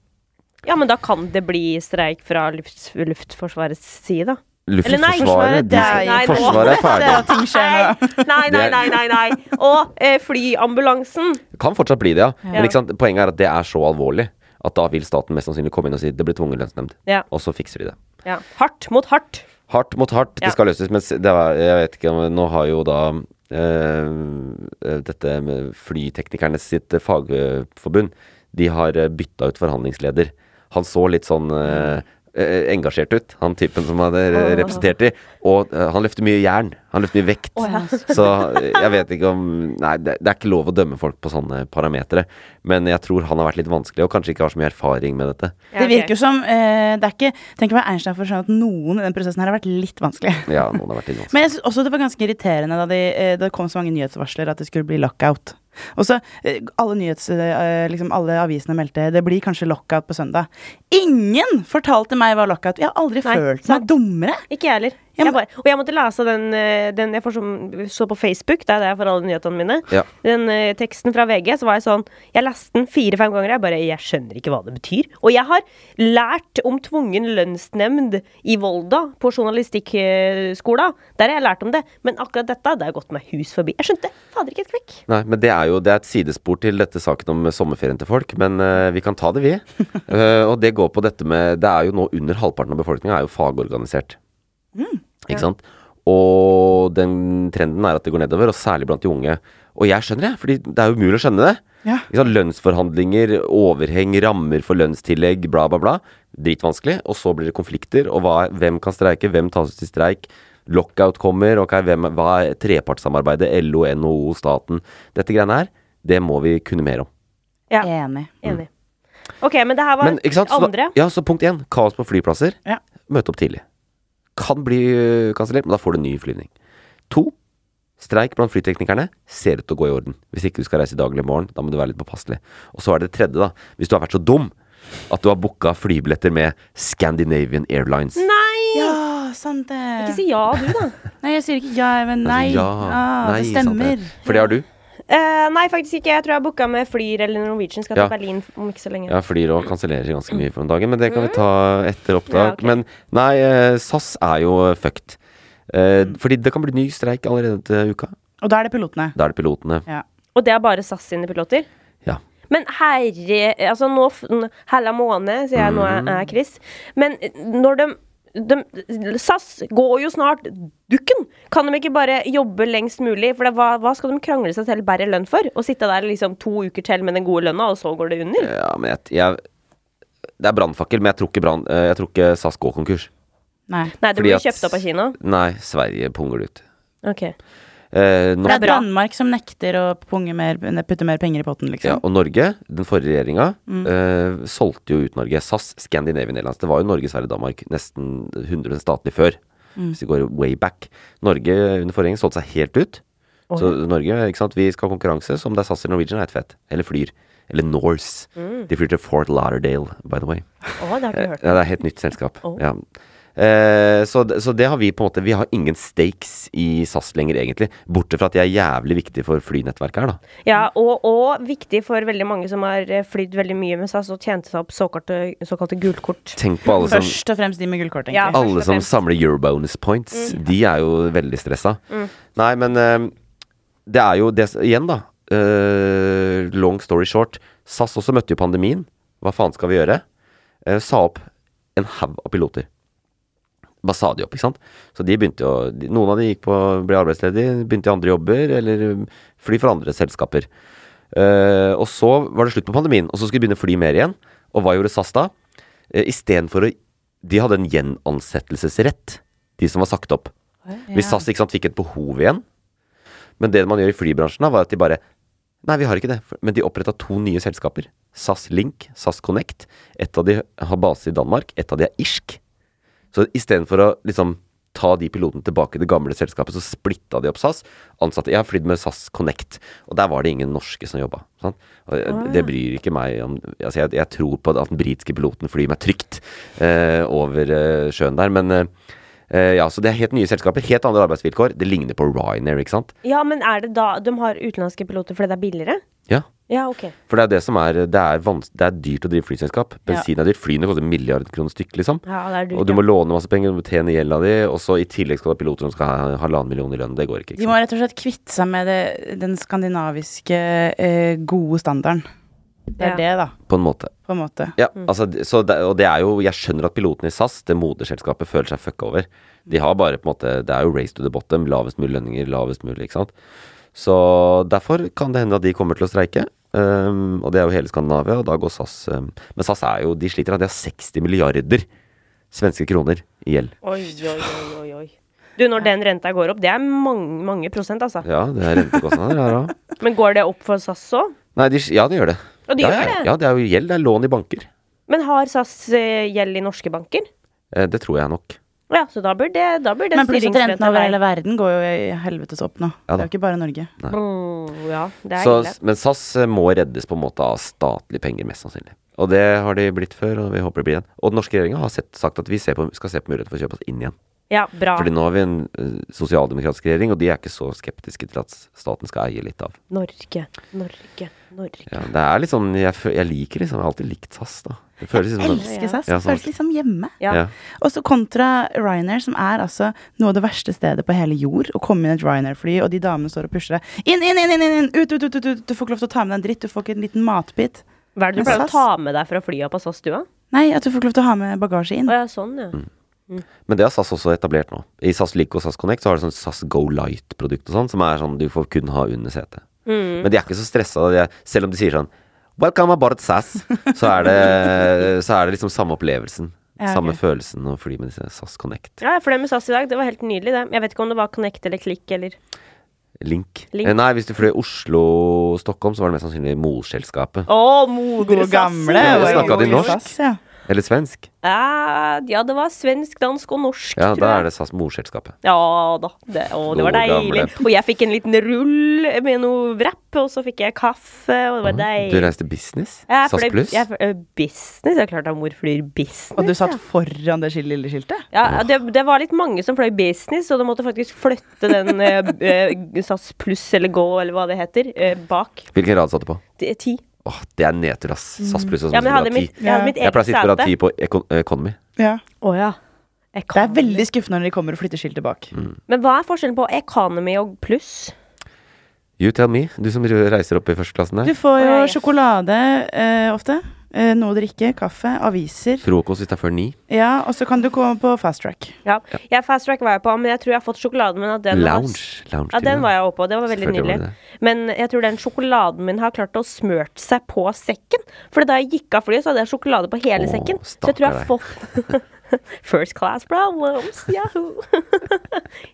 Speaker 2: Ja, men da kan det bli streik fra luft, Luftforsvarets side, da. Eller nei,
Speaker 1: Luftforsvaret de,
Speaker 3: Forsvaret, nei,
Speaker 2: nå-
Speaker 1: Forsvaret er
Speaker 3: Det er
Speaker 1: ferdig.
Speaker 3: at ting skjer nå.
Speaker 2: Nei, nei, nei, nei, nei. Og eh, flyambulansen.
Speaker 1: Kan fortsatt bli det, ja.
Speaker 2: Ja.
Speaker 1: Men ikke sant? poenget er at det er så alvorlig at da vil staten mest sannsynlig komme inn og si det blir tvungen lønnsnemnd.
Speaker 2: Ja.
Speaker 1: Og så fikser de det.
Speaker 2: ja. Hardt mot hardt.
Speaker 1: Hardt mot hardt,
Speaker 2: Ja.
Speaker 1: det skal løses. Men s- det var, jeg vet ikke om Nå har jo da eh, dette med flyteknikernes sitt eh, fagforbund De har eh, bytta ut forhandlingsleder. Han så litt sånn eh, eh, engasjert ut, han typen som han eh, representerte. Og eh, han løfter mye jern. Han løfter mye vekt. Så eh, jeg vet ikke om Nei, det, det er ikke lov å dømme folk på sånne parametere. Men jeg tror han har vært litt vanskelig, og kanskje ikke har så mye erfaring med dette.
Speaker 2: Ja,
Speaker 3: Det
Speaker 2: ok.
Speaker 3: virker som eh, Det er ikke Tenk å være Einstein for å skjønne at noen i den prosessen her har vært litt vanskelig.
Speaker 1: Ja, noen har vært litt vanskelig.
Speaker 3: Men jeg synes også det var ganske irriterende da de, eh, det kom så mange nyhetsvarsler at det skulle bli lockout. Og så eh, alle nyhets... eh, Liksom alle avisene meldte det blir kanskje lockout på søndag. Ingen fortalte meg hva lockout Jeg har aldri
Speaker 2: Nei,
Speaker 3: følt meg
Speaker 2: sant.
Speaker 3: dummere.
Speaker 2: Ikke jeg heller.
Speaker 3: Ja,
Speaker 2: Jeg
Speaker 3: men-
Speaker 2: bare, og jeg måtte lese den, eh, den jeg får som, så på Facebook. Det er der jeg får alle nyhetene mine.
Speaker 1: Ja.
Speaker 2: Den eh, teksten fra VG. Så var jeg sånn Jeg leste den fire-fem ganger. Jeg bare Jeg skjønner ikke hva det betyr. Og jeg har lært om tvungen lønnsnemnd i Volda, på journalistikkskolen. Der har jeg lært om det. Men akkurat dette, det har gått meg hus forbi. Jeg skjønte fader ikke et kvekk.
Speaker 1: Nei, men det er jo det er et sidespor til dette saken om sommerferien til folk, men eh, vi kan ta det, vi. Eh, og det går på dette med Det er jo nå under halvparten av befolkninga er jo fagorganisert. Ikke sant? Og den trenden er at det går nedover, og særlig blant de unge. Og jeg skjønner det, fordi det er jo umulig å skjønne det.
Speaker 3: Ja.
Speaker 1: Ikke sant? Lønnsforhandlinger, overheng, rammer for lønnstillegg, bla, bla, bla. Dritvanskelig. Og så blir det konflikter, og hva, er- hvem kan streike, hvem tas ut i streik? Lockout kommer, ok, hvem, hva er trepartssamarbeidet, LO, NHO, staten? Dette greiene her, det må vi kunne mer om.
Speaker 2: Ja,
Speaker 3: Enig.
Speaker 2: enig. OK, men det her var
Speaker 1: Mm. Men, ikke sant? Så, da-
Speaker 2: andre.
Speaker 1: ja, så punkt én, kaos på flyplasser.
Speaker 3: Ja.
Speaker 1: Møte opp tidlig. Kan bli ø, kansellert, men da får du ny flyvning. To, streik blant flyteknikerne ser ut til å gå i orden. Hvis ikke du skal reise i dag eller i morgen, da må du være litt påpasselig. Og så er det tredje, da. Hvis du har vært så dum at du har booka flybilletter med Scandinavian Airlines.
Speaker 2: Nei!
Speaker 3: Ja, sant det.
Speaker 2: Ikke si ja, du, da.
Speaker 3: Nei, jeg sier ikke ja, men nei.
Speaker 1: Altså, Ja,
Speaker 3: ah,
Speaker 1: nei,
Speaker 3: det
Speaker 1: sant
Speaker 3: stemmer.
Speaker 1: For det har du.
Speaker 2: Eh, nei, faktisk ikke. Jeg tror jeg booka med Flyr eller Norwegian. Skal
Speaker 1: Ja.
Speaker 2: til Berlin om ikke så lenge.
Speaker 1: Ja, flyr og kansellerer ganske mye for om dagen, men det kan vi ta etter opptak.
Speaker 2: Ja, ok.
Speaker 1: Men nei, eh, SAS er jo fucked. Eh, Fordi det kan bli ny streik allerede til uka.
Speaker 3: Og da er det pilotene.
Speaker 1: Da er det pilotene.
Speaker 3: Ja.
Speaker 2: Og det er bare SAS sine piloter?
Speaker 1: Ja.
Speaker 2: Men herre Altså, nå f- n- Hella måne, sier jeg nå er,
Speaker 1: Mm.
Speaker 2: er Chris. Men eh, når de, de SAS går jo snart dukken! Kan de ikke bare jobbe lengst mulig? For det, hva, hva skal de krangle seg til bedre lønn for? Å sitte der liksom to uker til med den gode lønna, og så går det under?
Speaker 1: Ja, men jeg, jeg Det er brannfakkel, men jeg tror ikke, brann- eh, jeg tror ikke SAS går konkurs.
Speaker 3: Nei.
Speaker 2: Nei, det
Speaker 1: fordi
Speaker 2: blir
Speaker 1: at-
Speaker 2: kjøpt opp av Kina.
Speaker 1: Nei, Sverige punger det ut.
Speaker 2: Ok.
Speaker 1: Eh,
Speaker 3: Det
Speaker 1: Norge,
Speaker 3: er Danmark som nekter å punge mer, putte mer penger i potten,
Speaker 1: ja,
Speaker 3: liksom. Mm.
Speaker 1: og Norge, den forrige regjeringa, eh, solgte jo ut Norge. SAS, Scandinavian Airlines. Det var jo Norge, Sverige, Danmark nesten 100 statlig før.
Speaker 3: Mm.
Speaker 1: Hvis vi går way back. Norge under forrige regjering solgte seg helt ut. Så Norge, ikke sant. Vi skal ha konkurranse, så om det er SAS eller Norwegian, er helt fett. Eller Flyr. Eller
Speaker 3: Mm.
Speaker 1: Norse. De flyr til Fort Lauderdale, by the way.
Speaker 2: Å, det har ikke du hørt.
Speaker 1: Ja, det er et helt nytt selskap.
Speaker 2: Oh.
Speaker 1: Ja. Eh, så, d- så det har vi på en måte Vi har ingen stakes i SAS lenger, egentlig. Bortsett fra at de er jævlig viktige for flynettverket her, da.
Speaker 2: Ja, og, og viktig for veldig mange som har eh, flydd veldig mye med SAS og tjente seg opp såkalte, såkalte gullkort.
Speaker 1: Tenk på alle som
Speaker 3: Først og fremst de med gullkort,
Speaker 2: Ja.
Speaker 3: egentlig.
Speaker 2: først
Speaker 1: Alle
Speaker 2: og
Speaker 1: som
Speaker 2: fremst. Mm.
Speaker 1: samler eurobonus points, de er jo veldig stressa. Nei, men eh, det er jo det s- Igjen, da. eh, long story short. SAS også møtte jo pandemien. Hva faen skal vi gjøre? Eh, sa opp en haug av piloter. Bare sa de opp, ikke sant. Så de begynte jo de- Noen av de gikk på, ble arbeidsledige, begynte i andre jobber, eller um, fly for andre selskaper. Eh, og så var det slutt på pandemien, og så skulle de begynne å fly mer igjen. Og hva gjorde SAS da? Eh, Istedenfor å De hadde en gjenansettelsesrett, de som var sagt opp. Hvis SAS ikke sant, fikk et behov igjen. Men det man gjør i flybransjen, da, var at de bare Nei, vi har ikke det. Men de oppretta to nye selskaper. SAS Link, SAS Connect. Et av de har base i Danmark, et av de er irsk. Så istedenfor å liksom ta de pilotene tilbake til det gamle selskapet, så splitta de opp SAS. Ansatte Jeg har flydd med SAS Connect, og der var det ingen norske som jobba. Sant? Og jeg- Det bryr ikke meg om altså jeg, jeg tror på at den britiske piloten flyr meg trygt eh, over eh, sjøen der, men eh, eh, ja, så Det er helt nye selskaper, helt andre arbeidsvilkår. Det ligner på Ryanair, ikke sant?
Speaker 2: Ja, men er det da de har utenlandske piloter fordi det er billigere?
Speaker 1: Ja.
Speaker 2: Ja, ok.
Speaker 1: For det er det som er Det er, vans det er dyrt å drive flyselskap. Bensin er dyrt. Flyene koster en milliard kroner stykk, liksom.
Speaker 2: Ja, det er dyrt,
Speaker 1: og du
Speaker 2: ja.
Speaker 1: må låne masse penger, du må tjene gjelda di, og så i tillegg skal du ha piloter som skal ha halvannen million i lønn. Det går ikke.
Speaker 3: De
Speaker 1: ikke
Speaker 3: må
Speaker 1: sant?
Speaker 3: rett og slett kvitte seg med det, den skandinaviske eh, gode standarden. Det
Speaker 2: Ja.
Speaker 3: er det, da,
Speaker 1: På en måte.
Speaker 3: på en måte.
Speaker 1: Ja,
Speaker 2: Mm.
Speaker 1: altså, d- så det, og det er jo Jeg skjønner at pilotene i SAS, det moderselskapet, føler seg fucka over. De har bare på en måte Det er jo race to the bottom. Lavest mulig lønninger, lavest mulig, ikke sant. Så derfor kan det hende at de kommer til å streike. ehm, og det er jo hele Skandinavia, og da går SAS ehm, Men SAS er jo De sliter, da. De har 60 milliarder svenske kroner i gjeld.
Speaker 2: Oi, oi, oi, oi, oi. Du, når den renta går opp, det er mange, mange prosent, altså.
Speaker 1: Ja, det er rentekostnader her òg.
Speaker 2: Men går det opp for SAS òg?
Speaker 1: Nei, de, ja, det gjør det.
Speaker 2: Og de
Speaker 1: ja,
Speaker 2: gjør
Speaker 1: ja,
Speaker 2: det?
Speaker 1: Ja, det er jo gjeld. Det er lån i banker.
Speaker 2: Men har SAS eh, gjeld i norske banker?
Speaker 1: Eh, det tror jeg nok.
Speaker 2: Ja, så da bør det, da bør det
Speaker 3: Men pluss at renten
Speaker 2: styringsrenta
Speaker 3: over
Speaker 2: være-
Speaker 3: hele verden går jo i helvetes opp nå.
Speaker 1: Ja da.
Speaker 3: det er jo ikke bare Norge.
Speaker 2: Mm, Ja, det er
Speaker 1: Så,
Speaker 2: ille.
Speaker 1: men SAS eh, må reddes på en måte av statlige penger, mest sannsynlig. Og det har de blitt før, og vi håper det blir igjen. Og den norske regjeringa har sett, sagt at vi ser på, skal se på muligheten for å kjøpe oss inn igjen.
Speaker 2: Ja, bra.
Speaker 1: Fordi nå har vi en eh, sosialdemokratisk regjering, og de er ikke så skeptiske til at staten skal eie litt av.
Speaker 2: Norge, Norge, Norge.
Speaker 1: Ja, det er litt sånn Jeg, fø- jeg liker liksom Jeg har alltid likt SAS, da. Det føles liksom som-
Speaker 3: Elsker SAS.
Speaker 1: Ja, sant.
Speaker 3: Føles liksom hjemme.
Speaker 2: Ja.
Speaker 1: Ja.
Speaker 3: Og så kontra Ryanair, som er altså noe av det verste stedet på hele jord. Å komme inn i et Ryanair-fly, og de damene står og pusher deg. Inn, inn, inn, inn, inn, inn! Ut, ut, ut, ut, ut! Du får ikke lov til å ta med deg en dritt. Du får ikke en liten matbit.
Speaker 2: Hva er det du
Speaker 3: Men
Speaker 2: pleier å
Speaker 3: SAS?
Speaker 2: ta med deg fra flyet på SAS-stua?
Speaker 3: Nei, at du får ikke lov til å ha med bagasje inn.
Speaker 2: Å ja, sånn, ja.
Speaker 1: Mm. Men det har SAS også etablert nå. I SAS Link og SAS Connect så har de sånn SAS Go Light-produkt og sånn, som er sånn du får kun ha under setet.
Speaker 2: Mm.
Speaker 1: Men de er ikke så stressa, de er- selv om de sier sånn Welcome aboard SAS, så er det, så er det liksom samme opplevelsen.
Speaker 3: Ja, ok.
Speaker 1: Samme følelsen å fly med disse SAS Connect.
Speaker 2: Ja, for det med SAS i dag, det var helt nydelig, det. Jeg vet ikke om det var Connect eller Click eller
Speaker 1: Link.
Speaker 2: Link.
Speaker 1: Eh, Nei, hvis du fløy Oslo-Stockholm, så var det mest sannsynlig morselskapet.
Speaker 2: Å, moder
Speaker 3: Gode
Speaker 2: SAS!
Speaker 3: gamle.
Speaker 1: Ja,
Speaker 3: var jo
Speaker 1: snakket de
Speaker 3: gode
Speaker 1: norsk?
Speaker 3: SAS, ja.
Speaker 1: Eller svensk.
Speaker 2: Ja, ja, det var svensk, dansk og norsk,
Speaker 1: Ja, da er
Speaker 2: tror jeg.
Speaker 1: det SAS morselskapet.
Speaker 2: Ja da. Det, å, det var
Speaker 1: Gode
Speaker 2: deilig.
Speaker 1: gamle.
Speaker 2: Og jeg fikk en liten rull med noe wrap, og så fikk jeg kaffe, og det var
Speaker 1: Du
Speaker 2: deilig.
Speaker 1: reiste business?
Speaker 2: Ja, for
Speaker 1: SAS
Speaker 2: det-
Speaker 1: Pluss?
Speaker 2: jeg- ø, business? Jeg klarte at mor flyr business.
Speaker 3: Og du satt foran det skil- lille skiltet?
Speaker 2: Ja, det, det var litt mange som fløy business, og de måtte faktisk flytte den ø, ø, SAS pluss eller gå, eller hva det heter, ø, bak.
Speaker 1: Hvilken rad satt du på?
Speaker 2: Det er Ti.
Speaker 1: Åh, det er nedtur, ass. SAS Pluss og
Speaker 2: Mm. Ja, men jeg hadde mitt,
Speaker 1: ti.
Speaker 2: jeg hadde mitt
Speaker 1: Jeg
Speaker 2: eget
Speaker 1: pleier å sitte på rad
Speaker 2: sete.
Speaker 1: ti på econ eh, Economy.
Speaker 3: Ja.
Speaker 2: Å ja.
Speaker 3: Det er veldig skuffende når de kommer og flytter skiltet bak.
Speaker 2: Men hva er forskjellen på economy og pluss?
Speaker 1: You tell me, du som reiser opp i førsteklassen her.
Speaker 3: Du får
Speaker 2: Å,
Speaker 3: jo
Speaker 2: ja, ja.
Speaker 3: sjokolade eh, ofte. Eh, noe å drikke, kaffe, aviser.
Speaker 1: Frokost hvis det er før ni.
Speaker 3: Ja, og så kan du komme på fast track.
Speaker 2: Ja. Jeg fast track var jeg på, men jeg tror jeg har fått sjokoladen min. At den
Speaker 1: Lounge. lounge
Speaker 2: Var, ja, den var jeg også på. Det var veldig
Speaker 1: Selvfølgelig var
Speaker 2: nydelig. Men jeg tror den sjokoladen min har klart å smørt seg på sekken. For da jeg gikk av flyet, så hadde jeg sjokolade på hele
Speaker 1: Åh,
Speaker 2: sekken. Så jeg tror jeg har fått First class problems, yahoo!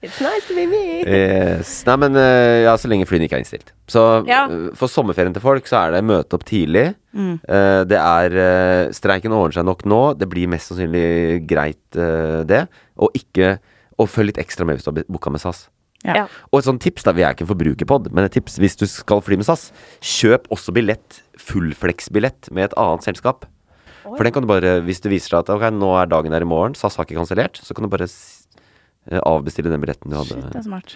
Speaker 2: It's nice to be me!
Speaker 1: Yes. Nei, men eh, ja, så lenge flyene ikke er innstilt. Så
Speaker 2: Ja. Mm.
Speaker 1: eh, for sommerferien til folk så er det møte opp tidlig. Eh, det er eh, Streiken ordner seg nok nå. Det blir mest sannsynlig greit, eh, det. Og ikke Og følg litt ekstra med hvis du har booka med SAS.
Speaker 2: Ja.
Speaker 1: Og et sånt tips, da, vi er ikke en forbrukerpod, men et tips hvis du skal fly med SAS, kjøp også billett, fullflex-billett med et annet selskap. For den kan du bare, hvis det viser seg at ok, nå er dagen her i morgen, SAS har ikke kansellert, så kan du bare s- eh, avbestille den billetten du hadde.
Speaker 3: Shit, det er smart.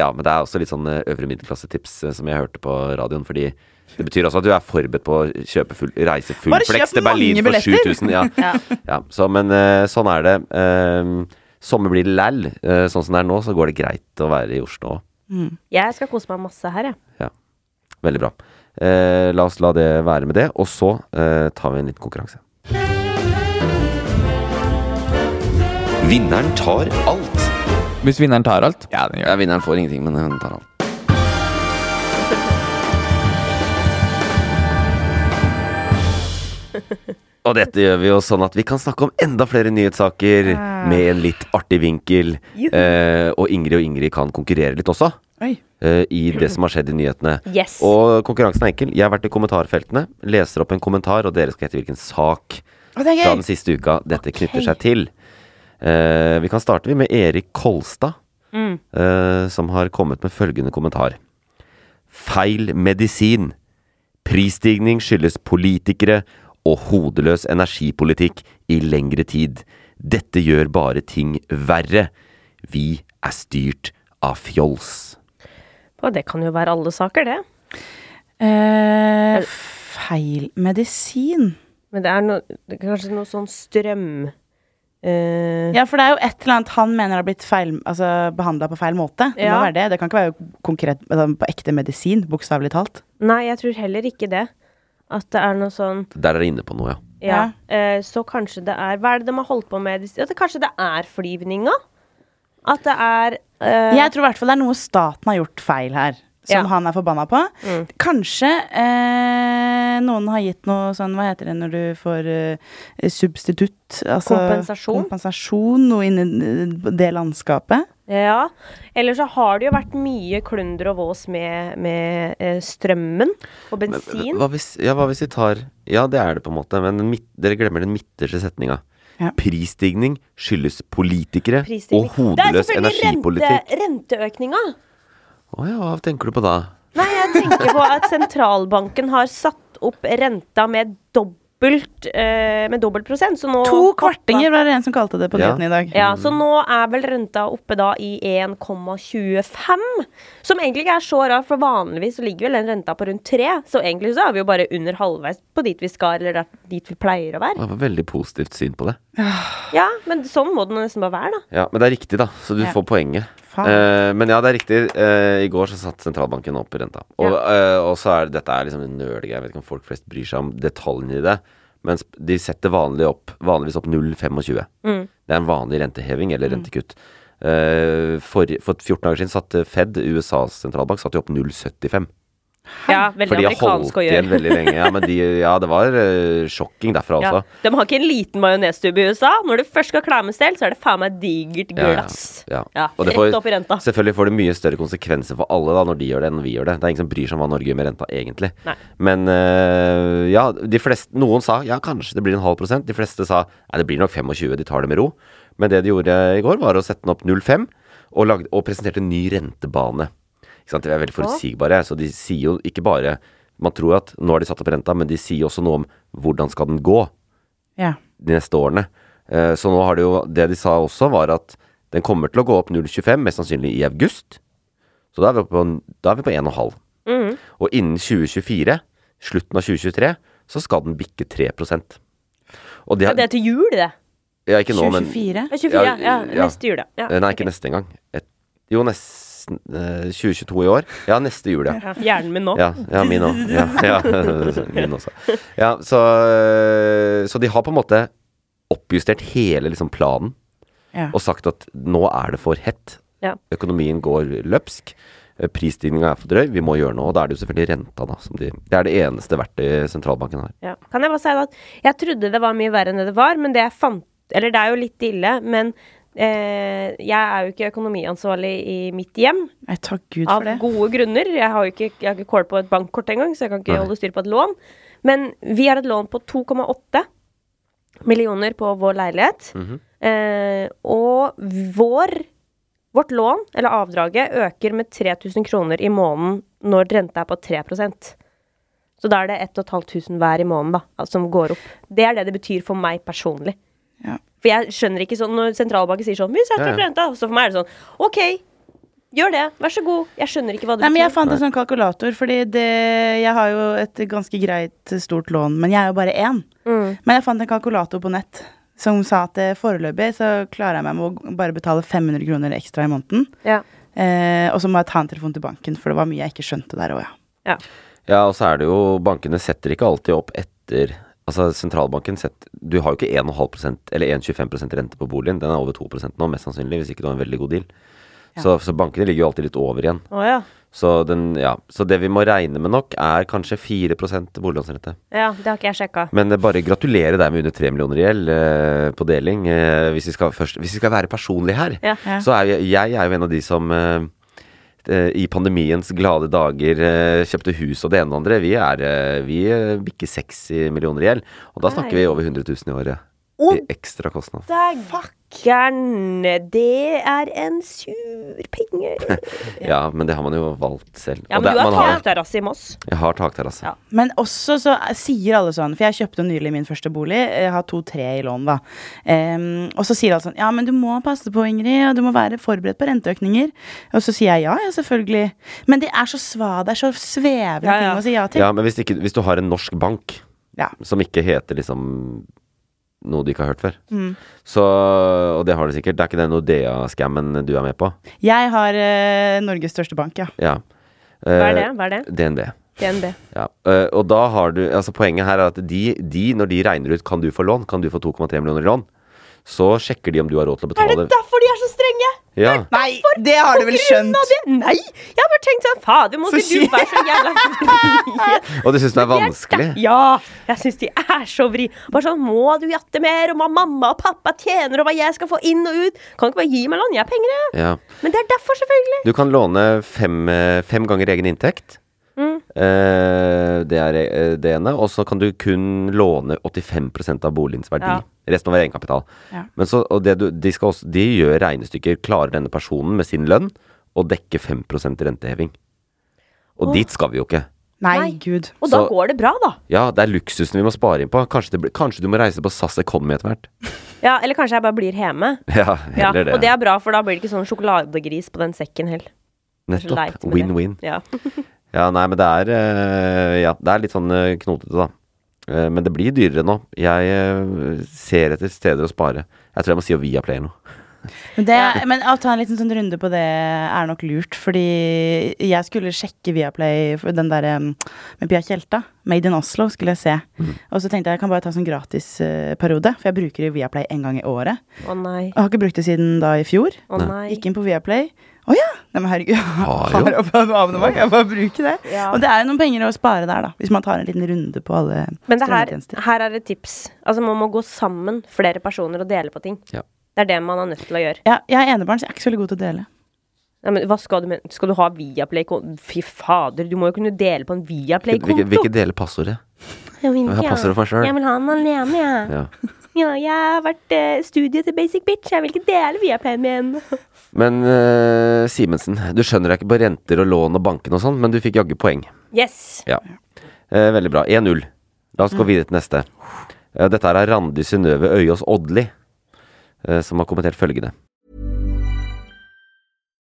Speaker 1: Ja, men det er også litt sånn eh, øvre middelklassetips eh, som jeg hørte på radioen, fordi det betyr altså at du er forberedt på å kjøpe full, reise full
Speaker 3: Bare kjøp
Speaker 1: flex til
Speaker 3: mange
Speaker 1: Berlin for
Speaker 3: billetter!
Speaker 1: 7000. Ja. ja, så, men eh, sånn er det. Ehm, sommer blir læll. Eh, sånn som det er nå, så går det greit å være i Oslo òg.
Speaker 2: Jeg skal kose meg masse her, jeg.
Speaker 1: Veldig bra. Eh, la oss la det være med det, og så eh, tar vi en liten konkurranse. Vinneren tar alt.
Speaker 5: Hvis vinneren tar alt? Ja, den
Speaker 1: Ja, vinneren får ingenting, men hun tar alt. Og dette gjør vi jo sånn at vi kan snakke om enda flere nyhetssaker med en litt artig vinkel. Eh, og Ingrid og Ingrid kan konkurrere litt også
Speaker 3: Oi.
Speaker 1: eh, i det som har skjedd i nyhetene.
Speaker 2: Yes.
Speaker 1: Og konkurransen er enkel. Jeg har vært i kommentarfeltene, leser opp en kommentar, og dere skal gjette hvilken sak
Speaker 3: Å, det er
Speaker 1: fra
Speaker 3: gøy!
Speaker 1: den siste uka dette knytter seg til. Eh, vi kan starte vi med Erik Kolstad,
Speaker 3: Mm.
Speaker 1: eh, som har kommet med følgende kommentar. Feil medisin. Prisstigning skyldes politikere og hodeløs energipolitikk i lengre tid. Dette gjør bare ting verre. Vi er styrt av fjols.
Speaker 2: Og det kan jo være alle saker, det.
Speaker 3: Eh, feil medisin.
Speaker 2: Men det er, noe- det er kanskje noe sånn strøm... eh,
Speaker 3: Ja, for det er jo et eller annet han mener har blitt feil, altså, behandla på feil måte. Det
Speaker 2: Ja.
Speaker 3: må være det. Det kan ikke være konkret altså, på ekte medisin, bokstavelig talt.
Speaker 2: Nei, jeg tror heller ikke det. At det er noe sånn
Speaker 1: Der er dere inne på noe, ja.
Speaker 2: Ja. eh, så kanskje det er Hva er det de har holdt på med? de- At det, kanskje det er flyvninga? At det er eh,
Speaker 3: Jeg tror i hvert fall det er noe staten har gjort feil her. Som
Speaker 2: Ja. Mm.
Speaker 3: han er forbanna på. Kanskje eh, noen har gitt noe sånn Hva heter det når du får eh, substitutt? Altså,
Speaker 2: Kompensasjon?
Speaker 3: Kompensasjon, noe inni det landskapet.
Speaker 2: Ja. Eller så har det jo vært mye klunder og vås med, med eh, strømmen og bensin.
Speaker 1: Hva hvis, ja, hva hvis vi tar Ja, det er det på en måte, men den midt, dere glemmer den midterste setninga.
Speaker 3: Ja.
Speaker 1: Prisstigning skyldes politikere
Speaker 2: Prisstigning.
Speaker 1: og hodeløs energipolitikk.
Speaker 2: rente, renteøkninga!
Speaker 1: Å ja, hva tenker du på da?
Speaker 2: Nei, jeg tenker på at sentralbanken har satt opp renta med dobbelt eh, Med dobbelt prosent, så nå
Speaker 3: To kvartinger var det en som kalte det på
Speaker 1: Ja.
Speaker 3: nyhetene i dag.
Speaker 2: Ja, så nå er vel renta oppe da i 1,25, som egentlig ikke er så rart, for vanligvis så ligger vel den renta på rundt 3, så egentlig så er vi jo bare under halvveis på dit vi skal, eller der- dit vi pleier å være.
Speaker 1: Det var veldig positivt syn på det.
Speaker 2: Ja, men sånn må den nesten bare være, da.
Speaker 1: Ja, Men det er riktig, da, så du
Speaker 3: Ja.
Speaker 1: får poenget.
Speaker 3: Faen.
Speaker 1: Eh, men ja, det er riktig. Eh, I går så satte sentralbanken opp renta. Og, eh, og så er det- dette er liksom en nølegreie. Jeg vet ikke om folk flest bryr seg om detaljene i det. Men sp- de setter vanlig opp, vanligvis opp 0,25.
Speaker 2: Mm.
Speaker 1: Det er en vanlig renteheving eller rentekutt. Eh, for, for 14 dager siden satte Fed, USAs sentralbank, satte jo opp 0,75.
Speaker 2: Ja,
Speaker 1: For
Speaker 2: veldig
Speaker 1: de har holdt
Speaker 2: amerikansk å
Speaker 1: igjen
Speaker 2: gjøre.
Speaker 1: veldig lenge. Ja, men de, ja det var eh, sjokking derfra
Speaker 2: Ja.
Speaker 1: også.
Speaker 2: De har ikke en liten majonestube i USA. Når du først skal klare med stell, så er det faen meg digert
Speaker 1: Ja, ja,
Speaker 2: glass.
Speaker 1: ja.
Speaker 2: Ja,
Speaker 1: Og det får-
Speaker 2: rett opp i renta.
Speaker 1: Selvfølgelig får det mye større konsekvenser for alle da når de gjør det, enn vi gjør det. Det er ingen som bryr seg om hva Norge gjør med renta, egentlig.
Speaker 2: Nei.
Speaker 1: Men øh, ja, de fleste Noen sa ja, kanskje det blir en halv prosent. De fleste sa nei, det blir nok 25, de tar det med ro. Men det de gjorde i går, var å sette den opp 0,5 og, lagde- og presenterte en ny rentebane. Ikke sant? De er veldig forutsigbare, så de sier jo ikke bare Man tror at nå har de satt opp renta, men de sier også noe om hvordan skal den gå
Speaker 3: Ja.
Speaker 1: de neste årene. Eh, Så nå har det jo Det de sa også, var at den kommer til å gå opp 0,25, mest sannsynlig i august. Så da er vi oppe på, da er vi på 1,5.
Speaker 2: Mhm.
Speaker 1: Og innen 2024, slutten av 2023, så skal den bikke 3 Og de
Speaker 2: Ja,
Speaker 1: har,
Speaker 2: det er til jul, det.
Speaker 1: ja, ikke nå, men
Speaker 3: 2024.
Speaker 2: Det er 24, ja.
Speaker 1: Ja, ja.
Speaker 2: Neste jul, ja.
Speaker 1: Eh, Nei, ikke neste engang. Et- Jo, nesten eh, 2022 i år. Ja, neste jul, ja.
Speaker 2: Ja. Hjernen min nå.
Speaker 1: Ja, ja min òg. Ja, ja, min også. Ja, så, eh, så de har på en måte oppjustert hele liksom planen
Speaker 3: Ja.
Speaker 1: og sagt at nå er det for hett.
Speaker 2: Ja.
Speaker 1: Økonomien går løpsk. eh, Prisstigninga er for drøy, vi må gjøre noe. Og da er det jo selvfølgelig renta, da. Som de, det er det eneste verktøyet sentralbanken har.
Speaker 2: Ja. Kan jeg bare si da at jeg trodde det var mye verre enn det det var, men det jeg fant Eller det er jo litt ille, men eh, jeg er jo ikke økonomiansvarlig i mitt hjem.
Speaker 3: Nei, takk Gud
Speaker 2: Av
Speaker 3: for det.
Speaker 2: gode grunner. Jeg har jo ikke, jeg har ikke kål på et bankkort engang, så jeg kan ikke
Speaker 1: Nei.
Speaker 2: holde styr på et lån. Men vi har et lån på 2,8 millioner på vår leilighet. eh, og vår Vårt lån, eller avdraget, øker med 3000 kroner i måneden når renta er på 3 Så Så da er det 1500 hver i måneden da, altså, som går opp. Det er det det betyr for meg personlig.
Speaker 3: Ja.
Speaker 2: For jeg skjønner ikke sånn når sentralbanken sier sånn Vi setter
Speaker 1: Ja,
Speaker 2: opp
Speaker 1: ja.
Speaker 2: renta. Så for meg er det sånn OK, gjør det. Vær så god. Jeg skjønner ikke hva det
Speaker 3: Nei, men jeg
Speaker 2: betyr.
Speaker 3: fant en sånn kalkulator, fordi det, jeg har jo et ganske greit eh, stort lån, men jeg er jo bare én.
Speaker 2: Mm.
Speaker 3: Men jeg fant en kalkulator på nett som sa at eh, foreløpig så klarer jeg meg med å bare betale 500 kroner ekstra i måneden.
Speaker 2: Ja.
Speaker 3: Eh, og så må jeg ta en telefon til banken, for det var mye jeg ikke skjønte der òg, ja.
Speaker 2: Ja.
Speaker 1: Ja, og så er det jo Bankene setter ikke alltid opp etter Altså sentralbanken setter Du har jo ikke 1,5 eller 1,25 rente på boligen. Den er over 2 nå, mest sannsynlig, hvis ikke du har en veldig god deal. Så, så bankene ligger jo alltid litt over igjen.
Speaker 2: Å ja.
Speaker 1: Så, den, ja. så det vi må regne med nok, er kanskje 4 boliglånsrente.
Speaker 2: ja. Det har ikke jeg sjekka.
Speaker 1: Men eh, bare gratulerer deg med under 3 millioner i gjeld eh, på deling. Eh, hvis, vi skal først, hvis vi skal være personlige her,
Speaker 2: Ja.
Speaker 3: Ja.
Speaker 1: så er jeg, jeg er jo en av de som eh, eh, i pandemiens glade dager eh, kjøpte hus og det ene og det andre. Vi, er, eh, vi eh, bikker 60 millioner i gjeld, og da snakker vi over 100 000 i året. I ekstra kostnad.
Speaker 2: Dægger'n, det er en sur penge.
Speaker 1: Ja, men det har man jo valgt selv.
Speaker 2: Ja,
Speaker 1: Og
Speaker 2: men
Speaker 1: det-
Speaker 2: du har
Speaker 1: man har-
Speaker 2: takterrasse i Moss.
Speaker 1: Jeg har altså. takterrasse.
Speaker 2: Ja.
Speaker 3: Men også så sier alle sånn, for jeg kjøpte nylig min første bolig, eh, jeg har to-tre i lån da. Ehm, og så sier alle sånn, ja, men du må passe på Ingrid, og du må være forberedt på renteøkninger. Og så sier jeg ja, ja, selvfølgelig. Men det er så sva, det er så svevende
Speaker 2: Ja, ja.
Speaker 3: ting å si ja til.
Speaker 1: Ja, men hvis, ikke, hvis du har en norsk bank
Speaker 3: Ja.
Speaker 1: som ikke heter liksom noe du ikke har hørt før,
Speaker 2: Mm.
Speaker 1: så, og det har du sikkert, det er ikke den Nordea-scammen du er med på?
Speaker 3: Jeg har eh, Norges største bank, ja.
Speaker 1: Ja. Eh,
Speaker 2: Hva er det? Hva er det?
Speaker 1: DNB.
Speaker 2: DNB.
Speaker 1: Ja. Eh, og da har du Altså poenget her er at de, de når de regner ut kan du få lån, kan du få 2,3 millioner i lån, så sjekker de om du har råd til å
Speaker 2: Er
Speaker 1: betale.
Speaker 2: det derfor de er så strenge?
Speaker 1: Ja.
Speaker 3: Nei, det har du vel skjønt.
Speaker 2: Av det? Nei! Jeg har bare tenkt sånn Fader, må
Speaker 3: Så
Speaker 2: ikke du
Speaker 3: kjipt.
Speaker 2: være så jævla
Speaker 1: Og du syns det er vanskelig?
Speaker 2: Ja! Jeg syns de er så vri. Bare sånn Må du jatte mer om hva mamma og pappa tjener, og hva jeg skal få inn og ut? Kan ikke bare gi meg lån? Jeg har penger, jeg.
Speaker 1: Ja.
Speaker 2: Men det er derfor, selvfølgelig.
Speaker 1: Du kan låne fem, eh, fem ganger egen inntekt.
Speaker 2: Mm.
Speaker 1: Eh, det er eh, det ene. Og så kan du kun låne 85 av boligens verdi.
Speaker 2: Ja.
Speaker 1: Resten må være egenkapital.
Speaker 3: Ja.
Speaker 1: Men så, og det du, de, skal også, de gjør regnestykker. Klarer denne personen med sin lønn å dekke 5 renteheving? Og dit skal vi jo ikke.
Speaker 3: Nei,
Speaker 2: Nei.
Speaker 3: Gud.
Speaker 2: Og da
Speaker 1: Så-
Speaker 2: går det bra, da.
Speaker 1: Ja, det er luksusen vi må spare inn på. Kanskje, det, blir- kanskje du må reise på SAS Economy etter hvert.
Speaker 2: Ja, Eller kanskje jeg bare blir hjemme.
Speaker 1: Ja,
Speaker 2: Ja,
Speaker 1: heller
Speaker 2: Og det
Speaker 1: det.
Speaker 2: er bra, for da blir det ikke sånn sjokoladegris på den sekken heller. Så leit
Speaker 1: Nettopp.
Speaker 2: med det.
Speaker 1: Win-win.
Speaker 2: Ja.
Speaker 1: Ja, nei, men det er, eh, ja, det er litt sånn eh, knotete, da. Eh, men det blir dyrere nå. Jeg eh, ser etter steder å spare. Jeg tror jeg må si Viaplay nå.
Speaker 3: Men, det, men å ta en liten sånn runde på det er nok lurt, fordi jeg skulle sjekke Viaplay for den der um, med Pia Tjelta, Made in Oslo, skulle jeg se.
Speaker 2: Mm.
Speaker 3: Og så tenkte jeg jeg kan bare ta sånn gratisperiode, for jeg bruker Viaplay en gang i året.
Speaker 2: Å nei.
Speaker 3: Og har ikke brukt det siden da i fjor.
Speaker 2: Å nei.
Speaker 3: Gikk inn på Viaplay. Å ja! Nei, men herregud, jeg
Speaker 1: jo.
Speaker 3: har opp en abonnement, jeg bare bruker det.
Speaker 2: Ja.
Speaker 3: Og det er jo noen penger å spare der, da, hvis man tar en liten runde på alle
Speaker 2: Men det her,
Speaker 3: strømmetjenester.
Speaker 2: her er et tips. Altså, man må gå sammen, flere personer, og dele på ting.
Speaker 1: Ja.
Speaker 2: Det er det man er nødt til å gjøre.
Speaker 3: Ja, jeg er enebarn, så jeg er ikke så veldig god til å dele.
Speaker 2: Nei, men hva skal du med Skal du ha Viaplay? kon- Fy fader, du må jo kunne dele på en
Speaker 1: Vil ikke- vil
Speaker 2: Viaplay-konto!
Speaker 1: ikke dele passordet.
Speaker 2: Jeg vil ikke,
Speaker 1: Jeg passer det for meg
Speaker 2: jeg.
Speaker 1: sjøl.
Speaker 2: Jeg vil ha den alene, jeg. Ja.
Speaker 1: Ja.
Speaker 2: jeg har vært eh, studiet til Basic Bitch. Jeg vil ikke dele Viaplayen min.
Speaker 1: Men eh, Simensen, du skjønner deg ikke på renter og lån og banken og sånn, men du fikk jaggu poeng.
Speaker 2: Yes.
Speaker 1: Ja. Eh, veldig bra. 1-0. La oss gå videre til neste. Eh, dette er Randi Synnøve Øyås Odli, eh, som har kommentert følgende.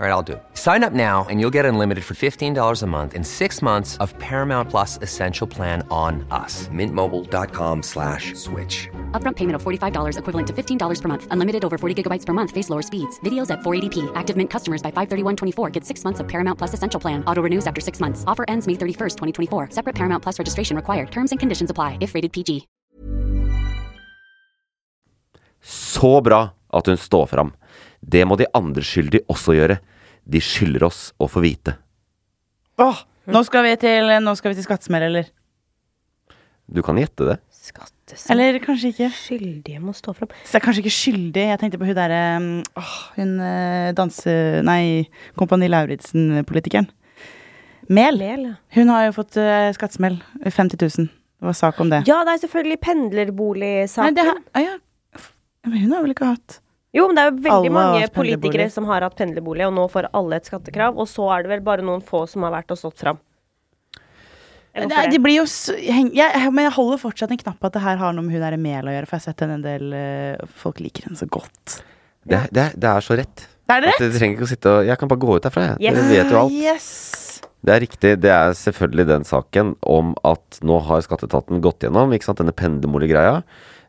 Speaker 6: All right, I'll do it. Sign up now and you'll get unlimited for $15 a month in six months of Paramount Plus Essential Plan on us. Mintmobile.com slash switch.
Speaker 7: Upfront payment of $45 equivalent to $15 per month. Unlimited over 40 gigabytes per month. Face lower speeds. Videos at 480p. Active Mint customers by 531.24 get six months of Paramount Plus Essential Plan. Auto renews after six months. Offer ends May 31st, 2024. Separate Paramount Plus registration required. Terms and conditions apply if rated PG.
Speaker 1: Så bra at hun står fram. Det må de andre skyldige også gjøre. De skylder oss å få vite.
Speaker 3: Åh, nå skal vi til, nå skal vi til skattesmell, eller?
Speaker 1: Du kan gjette det.
Speaker 3: Eller kanskje ikke.
Speaker 2: Skyldige må stå fram.
Speaker 3: Så det er kanskje ikke skyldig. Jeg tenkte på hun derre mm, Åh, hun øh, danse... Nei, Kompani Lauritzen-politikeren. Mel.
Speaker 2: Mel, ja.
Speaker 3: Hun har jo fått øh, skattesmell. 50 000. Det var sak om det.
Speaker 2: Ja, det er selvfølgelig pendlerboligsaken.
Speaker 3: Nei, det har- ah, ja. Men hun har vel ikke hatt
Speaker 2: Jo, men det er jo veldig
Speaker 3: Alle har
Speaker 2: mange
Speaker 3: hatt
Speaker 2: politikere
Speaker 3: pendlerbolig.
Speaker 2: som har hatt pendlerbolig, og nå får alle et skattekrav, og så er det vel bare noen få som har vært og stått fram. Jeg går
Speaker 3: det,
Speaker 2: for
Speaker 3: er-
Speaker 2: det.
Speaker 3: de blir jo s- heng, jeg, Men jeg holder fortsatt en knapp på at det her har noe med hun der Mel å gjøre, for jeg har sett henne en del øh, Folk liker henne så godt.
Speaker 1: Det, er- det, er- det er så rett.
Speaker 3: Er det
Speaker 1: At
Speaker 3: rett?
Speaker 1: Dere trenger ikke å sitte og Jeg kan bare gå ut derfra, jeg.
Speaker 3: Yes.
Speaker 1: Dere vet jo alt.
Speaker 3: Yes.
Speaker 1: Det er riktig. Det er selvfølgelig den saken om at nå har skatteetaten gått gjennom ikke sant, denne pendlermoliggreia.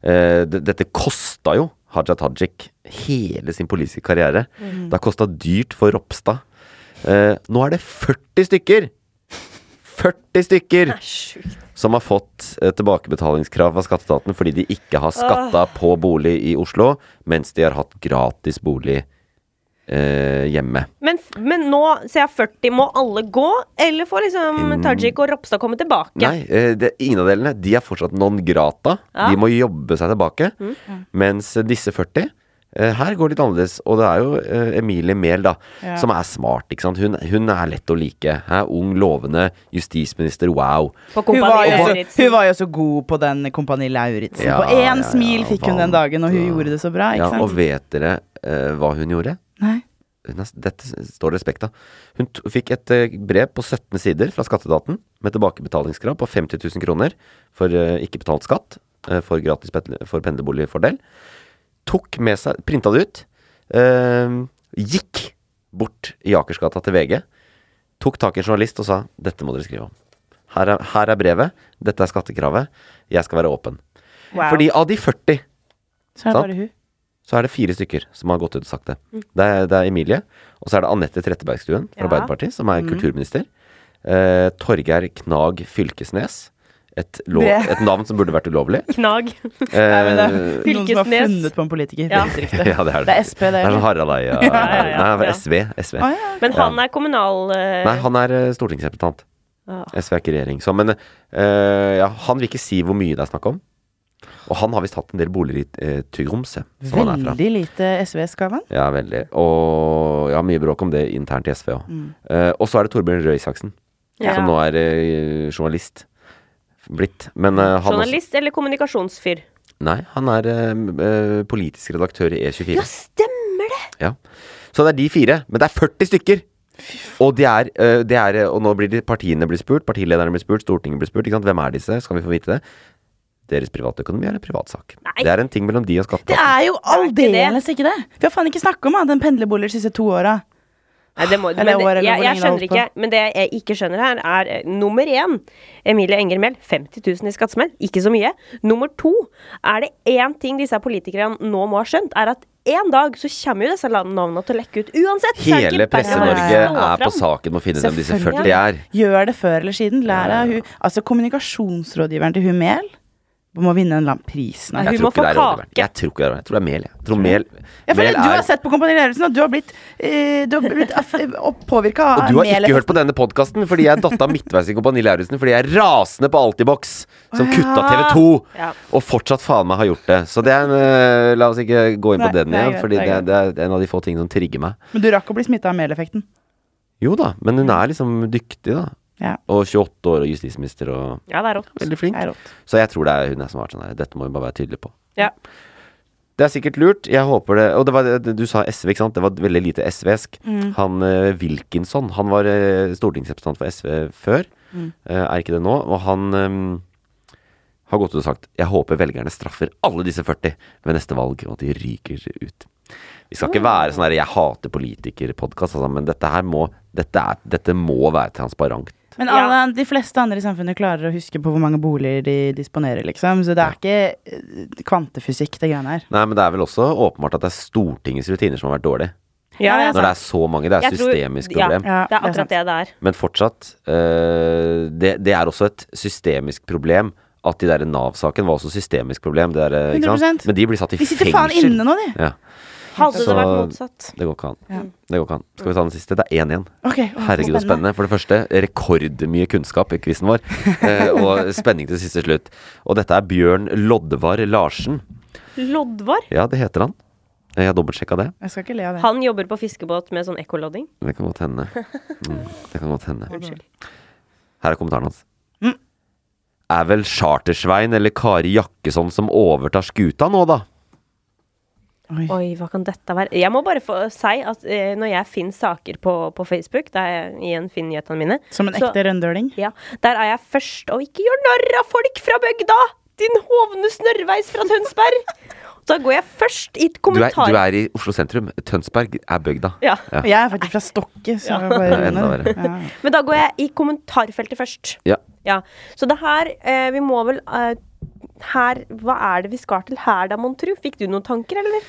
Speaker 1: Eh, d- dette kosta jo Haja Tajik hele sin politiske karriere.
Speaker 8: Mhm.
Speaker 1: Det har kosta dyrt for Ropstad. Eh, nå er det 40 stykker! 40 stykker! Som har fått eh, tilbakebetalingskrav av skatteetaten fordi de ikke har skatta
Speaker 3: Åh.
Speaker 1: på bolig i Oslo, mens de har hatt gratis bolig eh, hjemme.
Speaker 2: Men, men nå ser jeg 40. Må alle gå, eller får liksom
Speaker 1: Mm.
Speaker 2: Tajik og Ropstad komme tilbake?
Speaker 1: Nei, eh, det, ingen av delene. De er fortsatt non grata.
Speaker 2: Ja.
Speaker 1: De må jobbe seg tilbake.
Speaker 2: Mm.
Speaker 1: Mens eh, disse 40 eh, her går det litt annerledes, og det er jo eh, Emilie Mehl, da,
Speaker 8: Ja.
Speaker 1: som er smart. ikke sant? Hun, hun er lett å like. Er ung, lovende justisminister, wow.
Speaker 3: Hun var, jo så,
Speaker 2: Lauritzen.
Speaker 3: hun var jo så god på den Kompani Lauritzen.
Speaker 1: Ja,
Speaker 3: på én
Speaker 1: ja, ja,
Speaker 3: smil fikk hun den dagen, og hun gjorde det så bra. Ikke
Speaker 1: Ja,
Speaker 3: sant?
Speaker 1: og vet dere eh, hva hun gjorde?
Speaker 3: Nei.
Speaker 1: Hun er, dette s- står det respekt av. Hun t fikk et eh, brev på 17 sider fra skatteetaten med tilbakebetalingskrav på 50 000 kroner for eh, ikke betalt skatt eh, for gratis petle- for pendlerboligfordel. Tok med seg Printa det ut. eh, gikk bort i Akersgata til VG. Tok tak i en journalist og sa dette må dere skrive om. Her er, her er brevet. Dette er skattekravet. Jeg skal være åpen.
Speaker 3: Wow.
Speaker 1: Fordi av de 40
Speaker 3: Så er det
Speaker 1: sant?
Speaker 3: bare hun.
Speaker 1: så er det fire stykker som har gått ut og sagt det.
Speaker 3: Mm.
Speaker 1: Det, er, det er Emilie, og så er det Anette Trettebergstuen fra
Speaker 3: Ja.
Speaker 1: Arbeiderpartiet, som er
Speaker 3: Mm.
Speaker 1: kulturminister. Eh, Torgeir Knag Fylkesnes. Et, lov,
Speaker 3: Det-
Speaker 1: et navn som burde vært ulovlig.
Speaker 2: Knag.
Speaker 3: Nei, men det
Speaker 1: Eh,
Speaker 3: er noen som har
Speaker 2: Fylkesnes.
Speaker 3: funnet på en politiker.
Speaker 2: Ja.
Speaker 3: Helt riktig.
Speaker 1: ja, det er det.
Speaker 3: Det er SP, det.
Speaker 1: Det er sånn Harald Eia
Speaker 3: Ja, ja, ja.
Speaker 1: Nei, det
Speaker 3: Ja.
Speaker 1: er SV. SV.
Speaker 3: Å, ja, ok.
Speaker 2: Men han er kommunal... eh,
Speaker 1: Nei, han er eh, stortingsrepresentant.
Speaker 2: Ah.
Speaker 1: SV er ikke regjering. Så, men eh, ja, han vil ikke si hvor mye det er snakk om. Og han har visst hatt en del boliger i uh, Tromsø. som han er fra.
Speaker 3: Veldig lite SV-skavan.
Speaker 1: Ja, veldig. Og ja, mye bråk om det internt i SV òg.
Speaker 3: Mm.
Speaker 1: Eh, og så er det Torbjørn Røe Isaksen,
Speaker 2: Ja.
Speaker 1: som nå er eh, journalist. Blitt. Men eh, han
Speaker 2: Journalist eller kommunikasjonsfyr?
Speaker 1: Også, nei, han er eh, m- eh, politisk redaktør i E24.
Speaker 2: Ja, stemmer det!
Speaker 1: Ja. Så det er de fire, men det er 40 stykker! Og, de er, eh, det er, eh, og nå blir de, partiene blir spurt, partilederne blir spurt, Stortinget blir spurt. Ikke sant? Hvem er disse? Skal vi få vite det? Deres privatøkonomi er en privatsak. Det er en ting mellom de og
Speaker 3: Det
Speaker 1: skatteetaten.
Speaker 3: er jo aldeles ikke det! Vi har faen ikke snakka om ah, den pendlerboligen de siste to åra.
Speaker 2: Nei, det må,
Speaker 3: Eller
Speaker 2: men det,
Speaker 3: år, eller
Speaker 2: jeg, jeg
Speaker 3: hvor lenge det har
Speaker 2: skjønner
Speaker 3: holdt
Speaker 2: ikke, men det jeg ikke skjønner her, er eh, nummer én Emilie Enger Mehl, 50 000 i skattesmell. Ikke så mye. Nummer to er det én ting disse politikerne nå må ha skjønt, er at en dag så kommer jo disse land- navnene til å lekke ut uansett. så er det
Speaker 1: Hele
Speaker 2: ikke bare å
Speaker 1: Presse-Norge
Speaker 2: stå
Speaker 1: er på
Speaker 2: fram.
Speaker 1: saken med å finne hvem disse 40
Speaker 3: Selvfølgelig.
Speaker 1: er.
Speaker 3: Gjør det før eller siden. Lær av hun Altså kommunikasjonsrådgiveren til hun Mehl. må vinne en eller annen pris snart.
Speaker 1: Jeg tror ikke det er Oliver. Jeg tror ikke det er Oliver. Jeg tror det er mel. Jeg tror mel,
Speaker 3: Ja, for
Speaker 1: mel
Speaker 3: du har sett på Kompani Lauritzen, og du har blitt, eh, du har blitt påvirka
Speaker 1: Og
Speaker 3: av
Speaker 1: du har
Speaker 3: melet.
Speaker 1: ikke hørt på denne podkasten fordi jeg datta midtveis i Kompani Lauritzen fordi jeg er rasende på Altibox, som
Speaker 3: Å, ja.
Speaker 1: kutta TV2,
Speaker 3: Ja.
Speaker 1: og fortsatt faen meg har gjort det. Så det er en, eh, La oss ikke gå inn på
Speaker 3: Nei,
Speaker 1: den
Speaker 3: det er
Speaker 1: igjen,
Speaker 3: greit,
Speaker 1: fordi
Speaker 3: det
Speaker 1: det,
Speaker 3: er
Speaker 1: det er en av de få tingene som trigger meg.
Speaker 3: Men du rakk å bli smitta av meleffekten.
Speaker 1: Jo da, men hun er liksom dyktig, da.
Speaker 3: Ja.
Speaker 1: Og 28 år og justisminister og
Speaker 2: Ja, det er rått.
Speaker 1: Veldig flink.
Speaker 2: Det er rått.
Speaker 1: Så jeg tror det er hun er som har vært sånn her. Dette må vi bare være tydelige på.
Speaker 2: Ja.
Speaker 1: Det er sikkert lurt. Jeg håper det Og det var, det- du sa SV, ikke sant? Det var veldig lite SV-esk.
Speaker 2: Mm.
Speaker 1: Han eh, Wilkinson, han var eh, stortingsrepresentant for SV før.
Speaker 2: Mm.
Speaker 1: Eh, er ikke det nå. Og han eh, har gått ut og sagt Jeg håper velgerne straffer alle disse 40 ved neste valg, og at de ryker ut. Vi skal ikke være sånn her 'jeg hater politiker'-podkast, altså, men dette her må dette, er, dette må være transparent.
Speaker 3: Men alle, de fleste andre i samfunnet klarer å huske på hvor mange boliger de disponerer, liksom. Så det er ikke eh, kvantefysikk, det greiene her.
Speaker 1: Nei, men det er vel også åpenbart at det er Stortingets rutiner som har vært dårlige.
Speaker 2: Ja, ja,
Speaker 1: Når det
Speaker 2: sant.
Speaker 1: er så mange. Det er
Speaker 2: Altså, Jeg
Speaker 1: et
Speaker 2: tror-
Speaker 1: systemisk
Speaker 2: ja,
Speaker 1: problem.
Speaker 2: det er akkurat det det er.
Speaker 1: Men fortsatt, eh, det, det er også et systemisk problem at de der Nav-saken var også systemisk problem. Det der, eh, ikke sant?
Speaker 3: 100%.
Speaker 1: Men de blir satt i
Speaker 3: De
Speaker 1: fengsel.
Speaker 3: sitter faen inne nå, de.
Speaker 1: Ja.
Speaker 2: Hadde det
Speaker 1: Så
Speaker 2: vært motsatt.
Speaker 1: Det går ikke an.
Speaker 2: Ja.
Speaker 1: Det går ikke an. Skal vi ta den siste? Det er én igjen.
Speaker 2: Ok, å, så
Speaker 1: Herregud, så spennende. For det første, rekordmye kunnskap i quizen vår. eh, og spenning til siste slutt. Og dette er Bjørn Lodvar Larsen.
Speaker 2: Loddvar?
Speaker 1: Ja, det heter han. Jeg har dobbeltsjekka det.
Speaker 3: Jeg skal ikke le av det.
Speaker 2: Han jobber på fiskebåt med sånn ekkolodding.
Speaker 1: Det kan godt hende. Mm, det kan godt hende.
Speaker 2: Unnskyld.
Speaker 1: Her er kommentaren hans. Er vel Chartersvein eller Kari Jakkesson som overtar skuta nå, da?
Speaker 2: Oi. hva kan dette være? Jeg må bare få si at eh, når jeg finner saker på, på Facebook, der jeg igjen finner nyhetene mine
Speaker 3: Som en
Speaker 2: så-
Speaker 3: ekte røndøling?
Speaker 2: Ja. Der er jeg først. Og ikke gjør narr av folk fra bygda! Din hovne snørrveis fra Tønsberg! Da går jeg først i
Speaker 1: Du er,
Speaker 2: kommentar...
Speaker 1: du er i Oslo sentrum. Tønsberg er bygda.
Speaker 2: Ja.
Speaker 3: Og jeg er faktisk fra Stokke,
Speaker 2: Ja.
Speaker 3: så bare
Speaker 1: Ja, enda verre.
Speaker 3: Ja.
Speaker 2: Men da går jeg i kommentarfeltet først.
Speaker 1: Ja.
Speaker 2: Ja, Så det her eh, Vi må vel eh, her, Hva er det vi skal til her, da, mon tru? Fikk du noen tanker, eller?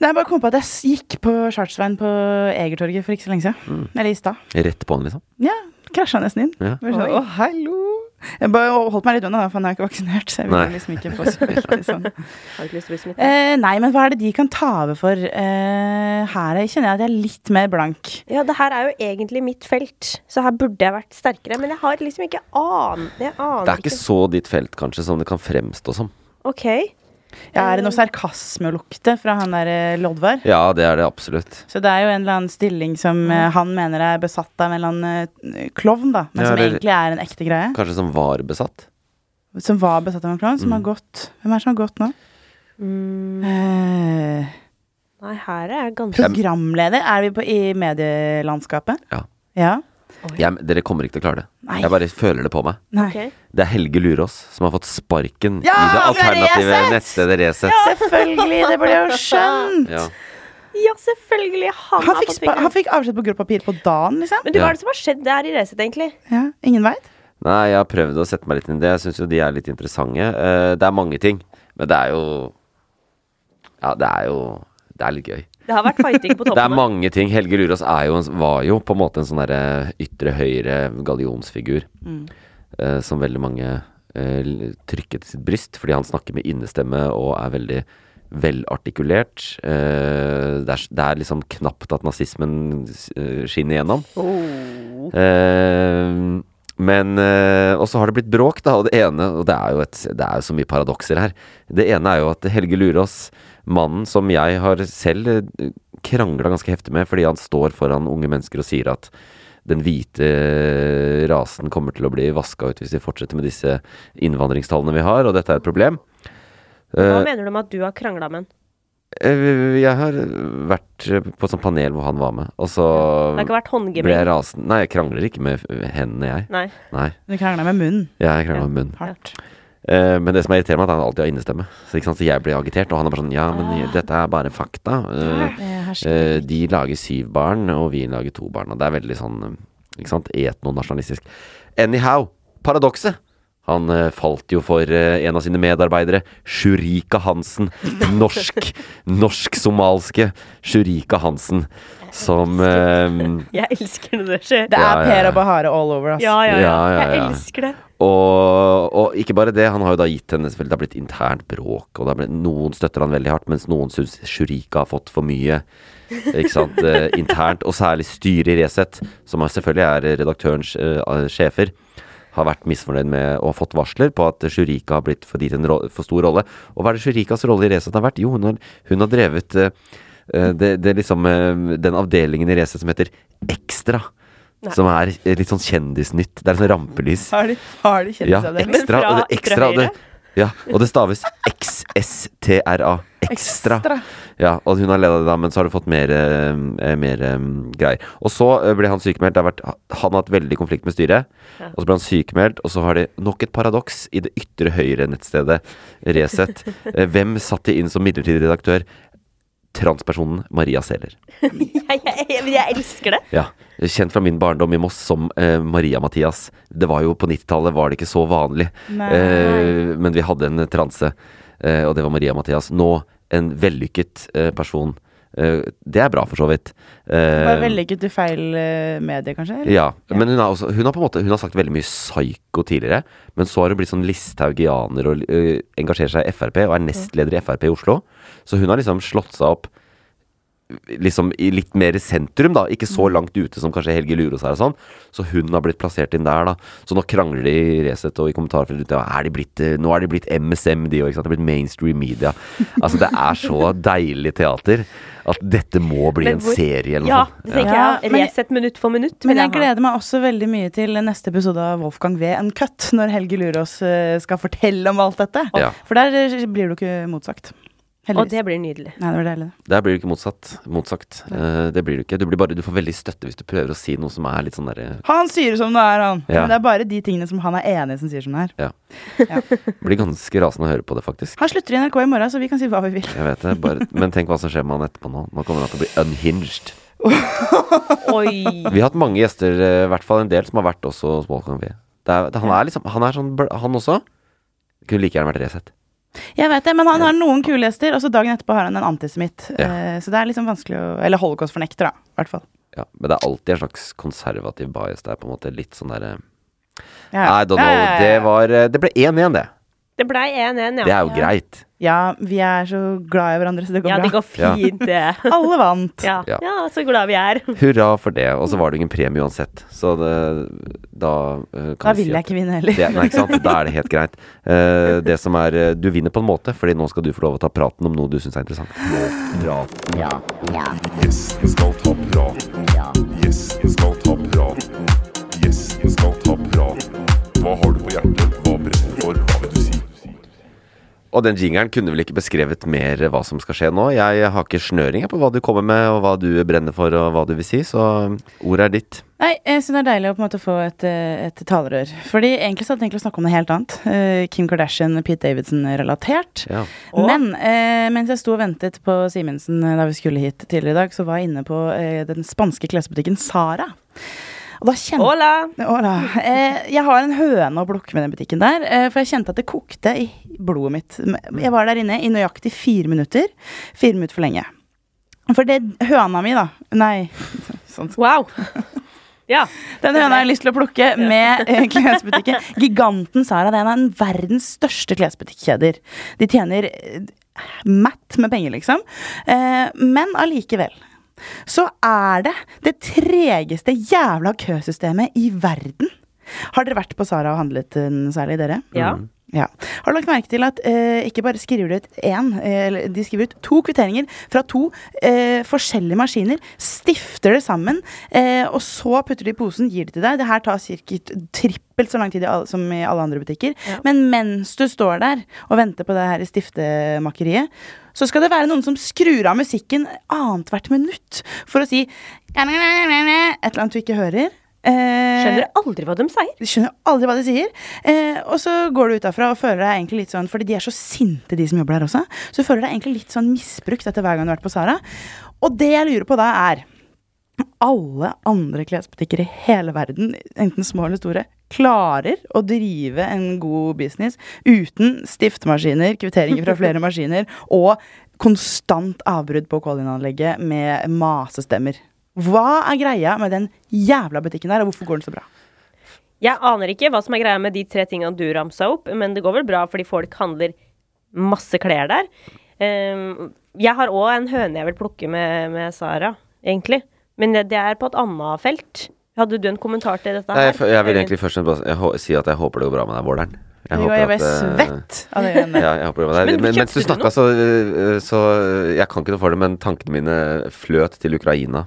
Speaker 3: Nei, jeg bare kom på at jeg s- gikk på Chartsveien på Egertorget for ikke så lenge
Speaker 1: Mm.
Speaker 3: siden. Eller i stad.
Speaker 1: Rett på den, liksom.
Speaker 3: Ja, krasja nesten inn.
Speaker 1: Ja.
Speaker 3: Bare sånn,
Speaker 2: Oi.
Speaker 3: å, hallo! Jeg bare holdt meg litt unna, da, for han er jo ikke vaksinert. Så jeg vil
Speaker 1: Nei.
Speaker 3: jo liksom ikke få smitte, sånn.
Speaker 2: Har ikke lyst til å bli smittet.
Speaker 3: eh, Nei, men hva er det de kan ta over for? Eh, her er- kjenner jeg at jeg er litt mer blank.
Speaker 2: Ja, det her er jo egentlig mitt felt, så her burde jeg vært sterkere. Men jeg har liksom ikke an... Jeg aner
Speaker 1: Det er ikke så ditt felt, kanskje, som det kan fremstå som.
Speaker 2: OK.
Speaker 3: Jeg er det noe sarkasme å lukte fra han der eh, Loddvar.
Speaker 1: Ja, det er det absolutt.
Speaker 3: Så det er jo en eller annen stilling som eh, han mener er besatt av en eller annen eh, klovn, da. Men
Speaker 1: Ja,
Speaker 3: som
Speaker 1: eller-
Speaker 3: egentlig er en ekte greie.
Speaker 1: Kanskje som var besatt.
Speaker 3: Som var besatt av en klovn, som
Speaker 1: Mm.
Speaker 3: har gått Hvem er det som har gått nå? Eh,
Speaker 2: Nei, her er jeg ganske
Speaker 3: programleder? Er vi på, i medielandskapet?
Speaker 1: Ja.
Speaker 3: Ja.
Speaker 1: Jeg, dere kommer ikke til å klare det.
Speaker 3: Nei.
Speaker 1: Jeg bare føler det på meg.
Speaker 3: Nei.
Speaker 1: Det er Helge Lurås som har fått sparken
Speaker 3: Ja,
Speaker 1: i det
Speaker 3: fra
Speaker 1: alternative
Speaker 3: Resett!
Speaker 1: nettstedet Resett.
Speaker 3: Selvfølgelig! Det burde jeg jo skjønt.
Speaker 1: Ja.
Speaker 2: Ja, selvfølgelig. Han,
Speaker 3: Han
Speaker 2: har
Speaker 3: fikk,
Speaker 2: fått
Speaker 3: spa-
Speaker 2: penger.
Speaker 3: han fikk avskjed på gråpapir på dagen, liksom.
Speaker 2: Men du, hva
Speaker 1: Ja.
Speaker 2: er det som har skjedd der i Resett, egentlig?
Speaker 3: Ja, ingen veit.
Speaker 1: Nei, jeg har prøvd å sette meg litt inn i det. Jeg syns jo de er litt interessante. Eh, det er mange ting, men det er jo Ja, det er jo Det er litt gøy.
Speaker 2: Det har vært fighting på
Speaker 1: Det er
Speaker 2: toppen.
Speaker 1: mange ting. Helge Lurås er jo, en- var jo på en måte en sånn derre ytre høyre gallionsfigur
Speaker 2: Mm.
Speaker 1: eh, som veldig mange eh, l- trykket til sitt bryst fordi han snakker med innestemme og er veldig velartikulert. Eh, det, er, s- det er liksom knapt at nazismen s- eh, skinner igjennom.
Speaker 2: Oh.
Speaker 1: Eh, men eh, Og så har det blitt bråk, da. Og det ene Og det er jo, et, det er jo så mye paradokser her. Det ene er jo at Helge Lurås, mannen som jeg har selv krangla ganske heftig med fordi han står foran unge mennesker og sier at den hvite rasen kommer til å bli vaska ut hvis vi fortsetter med disse innvandringstallene vi har, og dette er et problem.
Speaker 2: Hva
Speaker 1: Eh,
Speaker 2: mener du med at du har krangla med han?
Speaker 1: Eh, Jeg har vært på et sånt panel hvor han var med, og så
Speaker 2: Det har ikke vært håndgemeng?
Speaker 1: ble jeg rasende. Nei, jeg krangler ikke med hendene, jeg.
Speaker 2: Nei.
Speaker 1: Nei.
Speaker 3: Du krangla med munnen.
Speaker 1: Jeg krangler med munnen.
Speaker 3: Hardt.
Speaker 1: Eh, Men det som irriterer meg, er at han alltid har innestemme. Så, ikke sant? så jeg blir agitert, og han er bare sånn Ja, men dette er bare fakta. Eh,
Speaker 3: Ja, det er
Speaker 1: eh, De lager syv barn, og vi lager to barn. Og det er veldig sånn eh, ikke sant? etnonasjonalistisk. Anyhow, paradokset Han eh, falt jo for eh, en av sine medarbeidere, Shurika Hansen. Norsk. Norsk-somalske Shurika Hansen. Som eh,
Speaker 2: Jeg elsker når det skjer.
Speaker 3: Det
Speaker 1: Ja,
Speaker 3: er
Speaker 1: ja,
Speaker 3: Per
Speaker 1: ja.
Speaker 3: og Bahare all over, altså.
Speaker 2: Ja, ja, ja.
Speaker 1: Ja, ja,
Speaker 2: Jeg
Speaker 1: ja.
Speaker 2: elsker det.
Speaker 1: Og, og ikke bare det, han har jo da gitt henne selvfølgelig Det har blitt internt bråk, og det har blitt, noen støtter han veldig hardt, mens noen syns Shurika har fått for mye. Ikke sant? eh, internt, og særlig styret i Resett, som er- selvfølgelig er redaktørens eh, sjefer, har vært misfornøyd med og fått varsler på at Shurika har blitt for, dit en ro for stor rolle. Og hva er det Shurikas rolle i Resett har vært? Jo, hun har, hun har drevet eh, eh, det, det er liksom, eh, den avdelingen i Resett som heter Ekstra.
Speaker 3: Nei.
Speaker 1: Som er eh, litt sånn kjendisnytt. Det er sånn rampelys.
Speaker 3: Har de, har de
Speaker 1: Ja,
Speaker 3: kjendisavdeling?
Speaker 1: ekstra, og det, ekstra, og det, ja, og det staves XSTRA. Ekstra.
Speaker 3: Ekstra.
Speaker 1: Ja, og hun har leda det, da, men så har du fått mer, eh, eh, mer eh, greier. Og så eh, ble han sykemeldt. Det har vært, han har hatt veldig konflikt med styret.
Speaker 8: Ja.
Speaker 1: Og så ble han sykemeldt, og så har de nok et paradoks i det ytre høyre nettstedet Resett. Eh, Hvem satt de inn som midlertidig redaktør? Transpersonen Maria Sæler.
Speaker 2: Jeg, jeg, jeg, jeg elsker det.
Speaker 1: Ja, Kjent fra min barndom i Moss som eh, Maria Mathias. Det var jo På 90-tallet var det ikke så vanlig,
Speaker 8: Nei.
Speaker 1: Eh, men vi hadde en transe, eh, og det var Maria Mathias. Nå en vellykket eh, person. Eh, det er bra, for så vidt. Eh,
Speaker 3: Var vellykket i feil eh, medie, kanskje? eller?
Speaker 1: ja, men hun har, også, hun har på en måte Hun har sagt veldig mye psyko tidligere, men så har hun blitt sånn listhaugianer og øh, engasjerer seg i Frp og er nestleder i Frp i Oslo. Så hun har liksom slått seg opp Liksom i litt mer i sentrum, da. Ikke
Speaker 2: Mm.
Speaker 1: så langt ute som kanskje Helge Lurås er og sånn. Så hun har blitt plassert inn der, da. Så nå krangler de i Resett og i kommentarfeltet. Ja, Er de blitt, eh, nå er de blitt MSM, de òg. ikke sant? Det er blitt mainstream media. Altså, det er så deilig teater at dette må bli
Speaker 2: Men
Speaker 1: en
Speaker 2: hvor-
Speaker 1: serie eller noe
Speaker 2: Ja,
Speaker 1: sånt.
Speaker 2: det tenker jeg.
Speaker 3: men-
Speaker 2: Resett minutt for minutt. vil
Speaker 3: Men jeg
Speaker 2: ha.
Speaker 3: gleder meg også veldig mye til neste episode av Wolfgang V. Uncut, når Helge Lurås eh, skal fortelle om alt dette.
Speaker 1: Ja.
Speaker 3: For der eh, blir du ikke motsagt.
Speaker 2: Og det blir nydelig.
Speaker 3: Nei, det var deilig. det.
Speaker 1: Der blir du ikke motsatt. Motsagt. Eh, det blir du ikke. Du, blir bare, du får veldig støtte hvis du prøver å si noe som er litt sånn derre
Speaker 3: Han sier som det er, han.
Speaker 1: Ja.
Speaker 3: Men det er bare de tingene som han er enig i, som sier som det er.
Speaker 1: Ja. Blir ganske rasende å høre på det, faktisk.
Speaker 3: Han slutter i NRK i morgen, så vi kan si hva vi vil.
Speaker 1: Jeg vet det. Bare, men tenk hva som skjer med han etterpå nå. Nå kommer han til å bli unhinged.
Speaker 2: Oi.
Speaker 1: Vi har hatt mange gjester, eh, i hvert fall en del, som har vært også hos Volkan V. Det er, det, han er liksom Han er sånn bl- Han også kunne like gjerne vært Resett.
Speaker 3: Jeg vet det, men han har noen kule gjester, og så dagen etterpå har han en antisemitt. Eh, Så det er liksom vanskelig å Eller holocaust-fornekter, da. I hvert fall.
Speaker 1: Ja, men det er alltid en slags konservativ bias der, på en måte. Litt sånn derre
Speaker 3: Ja.
Speaker 1: I don't know.
Speaker 3: Ja, ja, ja,
Speaker 1: Det var eh, Det ble 1-1, det.
Speaker 2: Det blei 1-1, ja.
Speaker 1: Det er jo greit.
Speaker 3: Ja, vi er så glad i hverandre, så det går
Speaker 2: Ja,
Speaker 3: bra.
Speaker 2: det går
Speaker 1: Ja.
Speaker 2: fint, det.
Speaker 3: Alle vant.
Speaker 2: Ja.
Speaker 1: Ja.
Speaker 2: ja, så glad vi er.
Speaker 1: Hurra for det. Og så var det ingen premie uansett. Så det, da eh, kan
Speaker 3: Da
Speaker 1: vi si
Speaker 3: vil jeg
Speaker 1: at-
Speaker 3: ikke vinne heller.
Speaker 1: Det, nei, ikke sant? Da er det helt greit. Eh, det som er eh, Du vinner på en måte, fordi nå skal du få lov å ta praten om noe du syns er interessant.
Speaker 4: Ja, ja. Gjesten skal ta praten. Gjesten skal ta praten. Gjesten skal ta praten. Hva har du på hjertet? Hva brenner du for? Hva vil du si?
Speaker 1: Og den jingeren kunne vel ikke beskrevet mer eh, hva som skal skje nå. Jeg har ikke snøring jeg, på hva du kommer med, og hva du brenner for, og hva du vil si, så ordet er ditt.
Speaker 3: Nei, jeg synes det er deilig å på en måte få et, eh, et talerør. Fordi egentlig så hadde jeg tenkt å snakke om noe helt annet. Eh, Kim Kardashian, Pete Davidson relatert.
Speaker 1: Ja.
Speaker 3: Men eh, mens jeg sto og ventet på Simensen eh, da vi skulle hit tidligere i dag, så var jeg inne på eh, den spanske klesbutikken Sara. Og da kjente
Speaker 2: Hola!
Speaker 3: Eh, jeg har en høne å plukke med den butikken der, eh, for jeg kjente at det kokte i blodet mitt. Jeg var der inne i nøyaktig fire minutter. Fire minutter for lenge. For det høna mi, da Nei, sånn
Speaker 2: Wow! Ja.
Speaker 3: Den høna jeg har lyst til å plukke med eh, klesbutikken. Giganten Sara det er en av den verdens største klesbutikkjeder. De tjener eh, matt med penger, liksom. Eh, Men allikevel. Så er det det tregeste jævla køsystemet i verden. Har dere vært på Sara og handlet den særlig, dere?
Speaker 2: Ja.
Speaker 3: Ja. Har du lagt merke til at eh, ikke bare skriver de ut én, eh, eller de skriver ut to kvitteringer fra to eh, forskjellige maskiner, stifter det sammen, eh, og så putter de i posen, gir det til deg. Det her tar ca. trippelt så lang tid i alle, som i alle andre butikker. Men mens du står der og venter på det her stiftemakeriet, så skal det være noen som skrur av musikken annethvert minutt for å si et eller annet du ikke hører. Eh,
Speaker 2: Skjønner
Speaker 3: Skjønner
Speaker 2: aldri hva de sier.
Speaker 3: du skjønner aldri hva de sier. Eh, og så går du ut derfra og føler deg egentlig litt sånn Fordi de er så sinte, de som jobber der også. Så du føler deg egentlig litt sånn misbrukt etter hver gang du har vært på Sara. Og det jeg lurer på da, er alle andre klesbutikker i hele verden, enten små eller store, klarer å drive en god business uten stiftemaskiner, kvitteringer fra flere maskiner og konstant avbrudd på call-in-anlegget med masestemmer. Hva er greia med den jævla butikken der, og hvorfor går den så bra?
Speaker 2: Jeg aner ikke hva som er greia med de tre tingene du ramsa opp, men det går vel bra fordi folk handler masse klær der. Ehm, jeg har òg en høne jeg vil plukke med, med Sara, egentlig. Men det, det er på et annet felt. Hadde du en kommentar til dette
Speaker 1: Nei,
Speaker 2: her?
Speaker 1: jeg, f- jeg vil egentlig først og fremst bare jeg hå- si at jeg håper det går bra med deg, Våler'n.
Speaker 2: Jo,
Speaker 1: håper
Speaker 2: jeg ble
Speaker 1: at, eh,
Speaker 2: svett av det greiene.
Speaker 1: Ja, jeg håper det går bra med deg.
Speaker 2: Men
Speaker 1: Men, mens
Speaker 2: kjøpte
Speaker 1: du
Speaker 2: du
Speaker 1: snakka, så, eh, så Jeg kan ikke noe for det, men tankene mine fløt til Ukraina.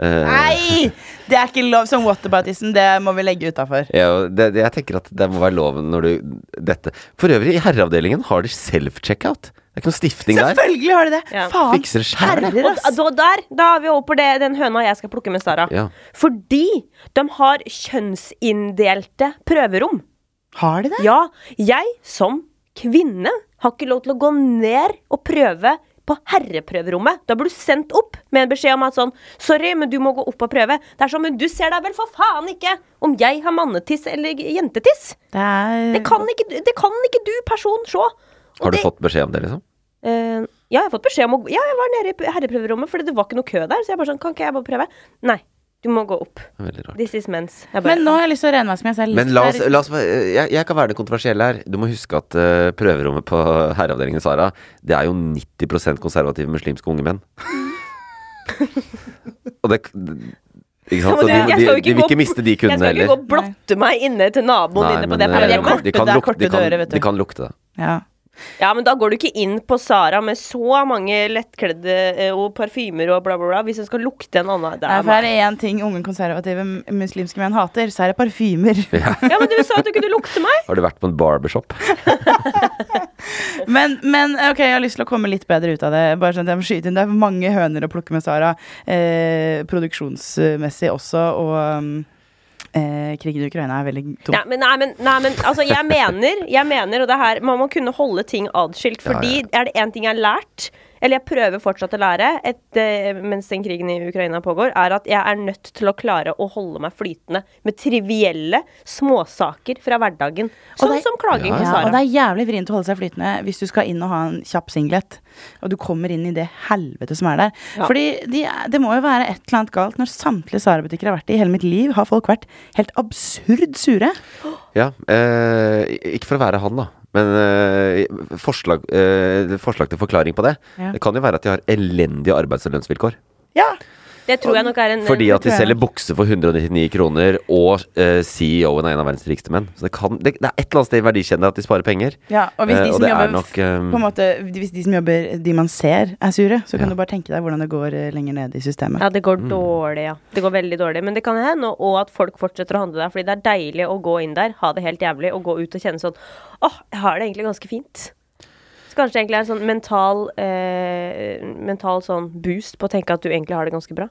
Speaker 1: Eh,
Speaker 3: Nei! Det er ikke lov som whataboutism. Det må vi legge utafor.
Speaker 1: Ja, og det, det, jeg tenker at det må være loven når du Dette. For øvrig, i herreavdelingen har de self-checkout. Det er ikke noe stifting der.
Speaker 3: Selvfølgelig har de det! Faen!
Speaker 1: Fikser det sjæl.
Speaker 2: Og da, da- der, da er vi over på det, den høna jeg skal plukke med Sara.
Speaker 1: Ja.
Speaker 2: Fordi de har kjønnsinndelte prøverom.
Speaker 3: Har de det?
Speaker 2: Ja. Jeg som kvinne har ikke lov til å gå ned og prøve på herreprøverommet. Da blir du sendt opp med en beskjed om at sånn Sorry, men du må gå opp og prøve. Det er sånn, men du ser da vel for faen ikke om jeg har mannetiss eller jentetiss.
Speaker 3: Det, er...
Speaker 2: det, kan, ikke, du- det kan ikke du, person, se.
Speaker 1: Mm. Har du fått beskjed om det, liksom?
Speaker 2: Eh, ja, jeg har fått beskjed om å Ja, jeg var nede i herreprøverommet, Fordi det var ikke noe kø der. Så jeg bare sånn, kan ikke jeg bare prøve? Nei, du må gå opp.
Speaker 1: Veldig rart.
Speaker 2: This is mens. Jeg bare,
Speaker 3: Men nå har jeg lyst til å renvaske meg selv.
Speaker 1: Men la oss, la oss bare- jeg, jeg kan være det kontroversielle her. Du må huske at eh, prøverommet på herreavdelingen Sara, det er jo 90 konservative muslimske unge menn. Og det Ikke sant? Så de,
Speaker 2: Jeg
Speaker 1: de,
Speaker 2: skal jo
Speaker 1: de vil
Speaker 2: gå-
Speaker 1: ikke miste de
Speaker 2: Jeg
Speaker 1: kundene
Speaker 2: skal ikke gå
Speaker 1: heller.
Speaker 2: og blotte meg inne til naboen inne på det
Speaker 1: eh,
Speaker 2: prøverommet.
Speaker 1: de kan lukte- de kan- De kan lukte det.
Speaker 3: Ja.
Speaker 2: men da går du ikke inn på Sara med så mange lettkledde eh, og parfymer og bla, bla, bla, hvis du skal lukte en annen. Det
Speaker 3: Nei,
Speaker 2: er
Speaker 3: for
Speaker 2: meg.
Speaker 3: er det én ting unge konservative m- muslimske menn hater, så er det parfymer.
Speaker 2: Ja, men du sa at du kunne lukte meg!
Speaker 1: Har du vært på en barbershop?
Speaker 3: Men, men ok, jeg har lyst til å komme litt bedre ut av det. Bare sånn at jeg må skyte inn Det er mange høner å plukke med Sara, eh, produksjonsmessig også, og um, eh, krigen i Ukraina er veldig tung.
Speaker 2: Nei, men, nei, men, nei, men altså, jeg mener, jeg mener og det her, Man må kunne holde ting adskilt.
Speaker 3: Ja, ja,
Speaker 2: Fordi er det én ting jeg har lært, eller jeg prøver fortsatt å lære et, eh, mens den krigen i Ukraina pågår, er at jeg er nødt til å klare å holde meg flytende med trivielle småsaker fra hverdagen.
Speaker 3: Og
Speaker 2: Sånn
Speaker 3: det-
Speaker 2: som klaging på
Speaker 3: Ja, og det
Speaker 2: Sara.
Speaker 3: er jævlig vrient å holde seg flytende hvis du skal inn og ha en kjapp singlet, og du kommer inn i det helvete som er der.
Speaker 2: Ja.
Speaker 3: Fordi de, er- det må jo være et eller annet galt når samtlige Sara-butikker jeg har vært i i hele mitt liv, har folk vært helt absurd sure.
Speaker 1: Ja, eh, ikke for å være han da Men eh, forslag, eh, forslag til forklaring på det
Speaker 3: Ja.
Speaker 1: Det kan jo være at de har elendige arbeids- og lønnsvilkår
Speaker 2: Det tror jeg nok er en
Speaker 1: Fordi at de
Speaker 2: en-
Speaker 1: selger bukser for 199 kroner Og eh, CEO-en er en av verdens rikeste menn Så det, kan, det, det er et eller annet sted i verdikjeden at de sparer penger
Speaker 3: Ja, og hvis
Speaker 1: Eh,
Speaker 3: de som
Speaker 1: det er
Speaker 3: jobber
Speaker 1: nok, eh,
Speaker 3: På en måte, Hvis de som jobber, de man ser, er sure, så kan du bare tenke deg hvordan det går eh, lenger ned i systemet.
Speaker 2: Ja, det går dårlig, ja. Det går veldig dårlig. Men det kan hende, og- og at folk fortsetter å handle der. Fordi det er deilig å gå inn der, ha det helt jævlig, og gå ut og kjenne sånn Åh, jeg har det egentlig ganske fint. Så kanskje det egentlig er en sånn mental, eh, mental sånn boost på å tenke at du egentlig har det ganske bra.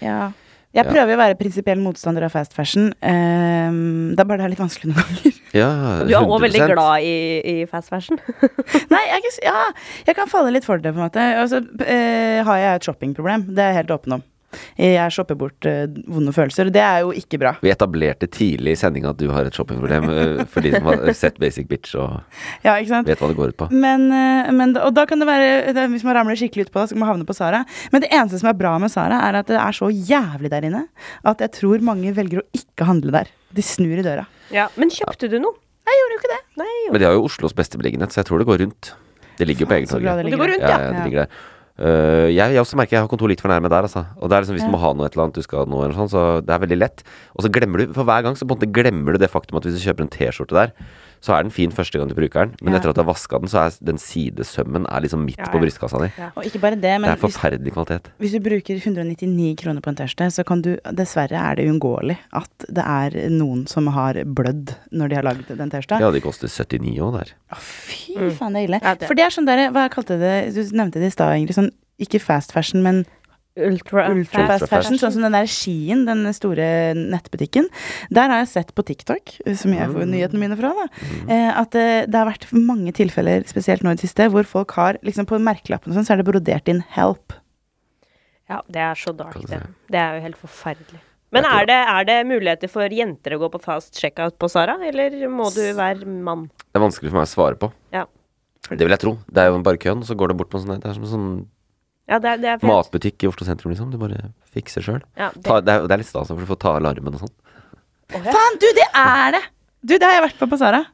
Speaker 3: Ja. Jeg
Speaker 1: Ja.
Speaker 3: prøver å være prinsipiell motstander av fast fashion. Ehm, det er bare det er litt vanskelig noen ganger.
Speaker 1: Ja,
Speaker 2: Du er òg
Speaker 1: 100%.
Speaker 2: veldig glad i, i fast fashion.
Speaker 3: Nei, jeg, kan s- ja, jeg kan falle litt for det, på en måte. Og så eh, har jeg et shoppingproblem. Det er jeg helt åpen om. Jeg shopper bort eh, vonde følelser, og det er jo ikke bra.
Speaker 1: Vi etablerte tidlig i sendingen at du har et shoppingproblem eh, For de som har sett Basic Bitch og
Speaker 3: Ja, ikke sant?
Speaker 1: vet hva det går ut på
Speaker 3: Men, eh, men, og da kan det være eh, det, Hvis man ramler skikkelig ut på det, så kan man havne på Sara. Men det eneste som er bra med Sara, er at det er så jævlig der inne at jeg tror mange velger å ikke handle der. De snur i døra.
Speaker 2: Ja, Men kjøpte du noe?
Speaker 3: Jeg gjorde jo ikke det.
Speaker 2: Nei, jeg
Speaker 1: Men
Speaker 2: gjorde
Speaker 1: de har jo Oslos beste beliggenhet, så jeg tror det går rundt. Det ligger jo på
Speaker 3: så bra
Speaker 1: Egentorget.
Speaker 3: det ligger Det går rundt,
Speaker 1: ja,
Speaker 3: ja.
Speaker 1: det
Speaker 3: Ja.
Speaker 1: ligger der. Uh, jeg, jeg også merker jeg har kontor litt for nærme der. Altså. Og det er liksom Hvis
Speaker 3: Ja.
Speaker 1: du må ha noe et eller annet du skal nå, eller sånn, så det er veldig lett. Og så glemmer du For hver gang så på en måte glemmer du det faktum at hvis du kjøper en T-skjorte der, så er den fin første gang du bruker den, men
Speaker 3: Ja.
Speaker 1: etter at du har vaska den, så er den sidesømmen er liksom midt
Speaker 3: Ja,
Speaker 1: på
Speaker 3: ja.
Speaker 1: brystkassa di.
Speaker 3: Og ikke bare det,
Speaker 1: det
Speaker 3: men
Speaker 1: er
Speaker 3: hvis,
Speaker 1: forferdelig kvalitet.
Speaker 3: hvis du bruker 199 kroner på en T-skjorte, så kan du Dessverre er det uunngåelig at det er noen som har blødd når de har lagd den T-skjorta.
Speaker 1: Ja, de koster 79 òg der.
Speaker 3: Fy faen, det er ille. For det er sånn der, hva kalte det, du nevnte det i stad, Ingrid, sånn ikke fast fashion, men
Speaker 2: Ultra,
Speaker 3: ultra
Speaker 2: fast
Speaker 3: fast fashion.
Speaker 2: fashion.
Speaker 3: Sånn som den der Skien, den store nettbutikken. Der har jeg sett på TikTok, som jeg får nyhetene mine fra, da, eh, at eh, det har vært mange tilfeller, spesielt nå i det siste, hvor folk har liksom på merkelappen og sånn, så er det brodert inn 'help'.
Speaker 2: Ja, Ja, det er så dark,
Speaker 1: Kan du
Speaker 2: det.
Speaker 1: si.
Speaker 2: Det er jo helt forferdelig. Men
Speaker 1: Jeg tror
Speaker 2: er det, er det muligheter for jenter å gå på fast checkout på Sara, eller må du være mann?
Speaker 1: Det er vanskelig for meg å svare på.
Speaker 2: Ja,
Speaker 1: Det vil jeg tro. Det er jo bare køen, og så går det bort på en sånn Det er som en sånn
Speaker 2: ja det, er- det er fett.
Speaker 1: matbutikk i Oslo sentrum, liksom. Du bare fikser sjøl.
Speaker 2: Ja,
Speaker 1: det...
Speaker 2: det-
Speaker 1: det er- det er litt stas, for du får ta alarmen og sånn.
Speaker 3: Faen, du, det er det! Du, det har jeg vært på på Sara.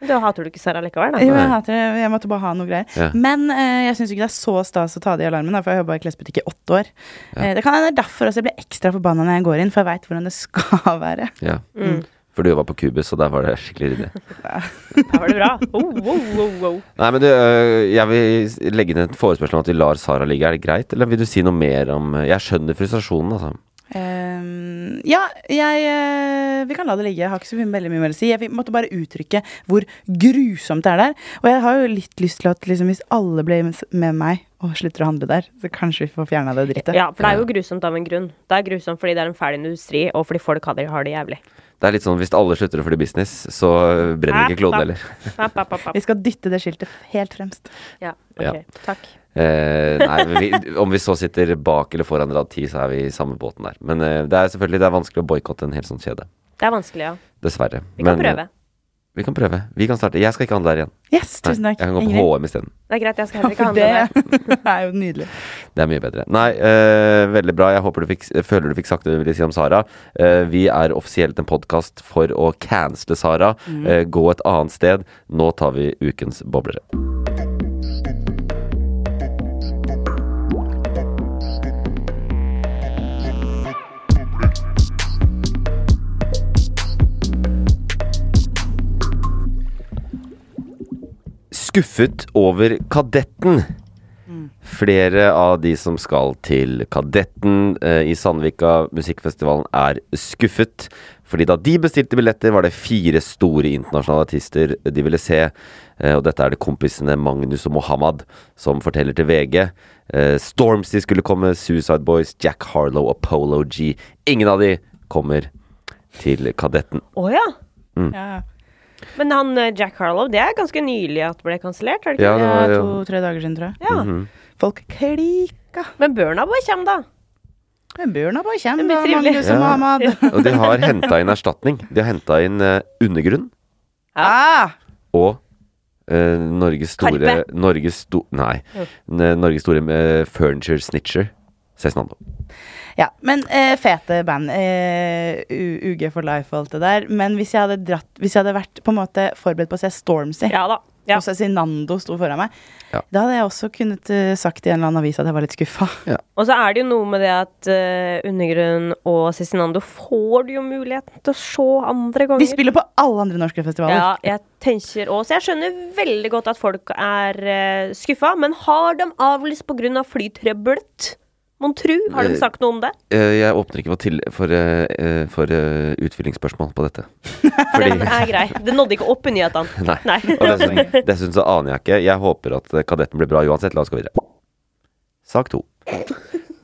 Speaker 2: Da hater du ikke Sara likevel, da.
Speaker 3: Jo, jeg, hater det. jeg måtte bare ha noe greier.
Speaker 2: Ja.
Speaker 3: Men eh, jeg syns ikke det er så stas å ta det i alarmen, da, for jeg jobba i klesbutikk i åtte år. Eh, det kan hende det er derfor også jeg blir ekstra forbanna når jeg går inn, for jeg veit hvordan det skal være.
Speaker 1: Ja.
Speaker 3: Mm.
Speaker 1: For du jobba på Cubus, og der var det skikkelig ryddig.
Speaker 2: Da var det bra. Oh, wow, wow, wow.
Speaker 1: Nei, men du, øh, jeg vil legge ned en forespørsel om at vi lar Sara ligge. Er det greit, eller vil du si noe mer om øh, Jeg skjønner frustrasjonen, altså.
Speaker 3: Ehm, ja, jeg eh, Vi kan la det ligge. Jeg har ikke så mye- veldig mye mer å si. Jeg vil- måtte bare uttrykke hvor grusomt det er der. Og jeg har jo litt lyst til at liksom, hvis alle blir med meg og slutter å handle der, så kanskje vi får fjerna det drittet.
Speaker 2: Ja, for det er jo grusomt av en grunn. Det er grusomt fordi det er en fæl industri, og fordi folk har det, har det jævlig.
Speaker 1: Det er litt sånn hvis alle slutter å fly business, så øh, brenner ikke kloden heller.
Speaker 2: App, app, app, app.
Speaker 3: Vi skal dytte det skiltet helt fremst.
Speaker 2: Ja,
Speaker 1: Ja.
Speaker 2: ok. Takk.
Speaker 1: Eh, nei, men vi, om vi så sitter bak eller foran rad ti, så er vi i samme båten der. Men eh, det er selvfølgelig det er vanskelig å boikotte en hel sånn kjede.
Speaker 2: Det er vanskelig, ja.
Speaker 1: Dessverre.
Speaker 2: Vi kan
Speaker 1: Men, eh,
Speaker 2: prøve.
Speaker 1: Vi kan prøve. Vi kan starte. Jeg skal ikke handle der igjen.
Speaker 3: Yes, tusen
Speaker 1: Nei,
Speaker 3: takk,
Speaker 1: Jeg kan gå på
Speaker 3: Ingrid.
Speaker 1: HM isteden.
Speaker 2: Det er greit, jeg skal
Speaker 3: Ja,
Speaker 2: heller ikke
Speaker 3: for
Speaker 2: handle der.
Speaker 3: det er jo nydelig.
Speaker 1: Det er mye bedre. Nei, eh, veldig bra. Jeg håper du fikk, føler du fikk sagt det du ville si om Sara. Eh, vi er offisielt en podkast for å cancele Sara.
Speaker 8: Mm.
Speaker 1: Eh, gå et annet sted. Nå tar vi ukens boblere. Skuffet over Kadetten. Flere av de som skal til Kadetten eh, i Sandvika musikkfestivalen er skuffet. Fordi da de bestilte billetter, var det fire store internasjonale artister de ville se. Eh, og dette er det kompisene Magnus og Mohammed som forteller til VG. Eh, Stormzy skulle komme, Suicide Boys, Jack Harlow og Polo G. Ingen av de kommer til Kadetten.
Speaker 2: Å ja.
Speaker 1: Mm.
Speaker 2: Men han eh, Jack Harlow, det er ganske nylig at ble kansellert, er det ikke?
Speaker 1: Ja, det var- Ja, ja.
Speaker 3: to-tre dager siden, tror jeg.
Speaker 2: Ja.
Speaker 1: Mhm.
Speaker 3: Folk klika.
Speaker 2: Men Burnaboy kommer, da.
Speaker 3: Men Burnaboy kommer,
Speaker 2: Det
Speaker 3: da,
Speaker 2: blir trivelig.
Speaker 3: Magnus og Mohammed.
Speaker 1: Og de har henta inn erstatning. De har henta inn eh, Undergrunn.
Speaker 3: Ah!
Speaker 1: og eh, Norges store
Speaker 3: Karpe.
Speaker 1: Norges sto, Nei.
Speaker 3: Jo.
Speaker 1: N- Norges store eh, furniture snitcher. Cezinando.
Speaker 3: Ja, men eh, fete band. Eh, U- UG for life og alt det der. Men hvis jeg hadde, dratt, hvis jeg hadde vært på en måte forberedt på å se Stormzy,
Speaker 2: ja, da.
Speaker 3: og Cezinando sto foran meg, da hadde jeg også kunnet eh, sagt i en eller annen avis at jeg var litt skuffa.
Speaker 2: Og så er det jo noe med det at eh, Undergrunn og Cezinando får du jo muligheten til å se andre ganger.
Speaker 3: De spiller på alle andre norske festivaler.
Speaker 2: Ja, jeg tenker også. Jeg skjønner veldig godt at folk er uh, skuffa, men har de avlyst pga. Av flytrøbbelet? Mon tru? Har de sagt noe om det?
Speaker 1: Eh, jeg åpner ikke for, til, for, eh, eh, for eh, utfyllingsspørsmål på dette. Fordi
Speaker 2: Den er grei. Det nådde ikke opp i nyhetene.
Speaker 1: Nei. Og dessuten, dessuten så aner jeg ikke. Jeg håper at eh, Kadetten blir bra uansett. La oss gå videre. Sak to.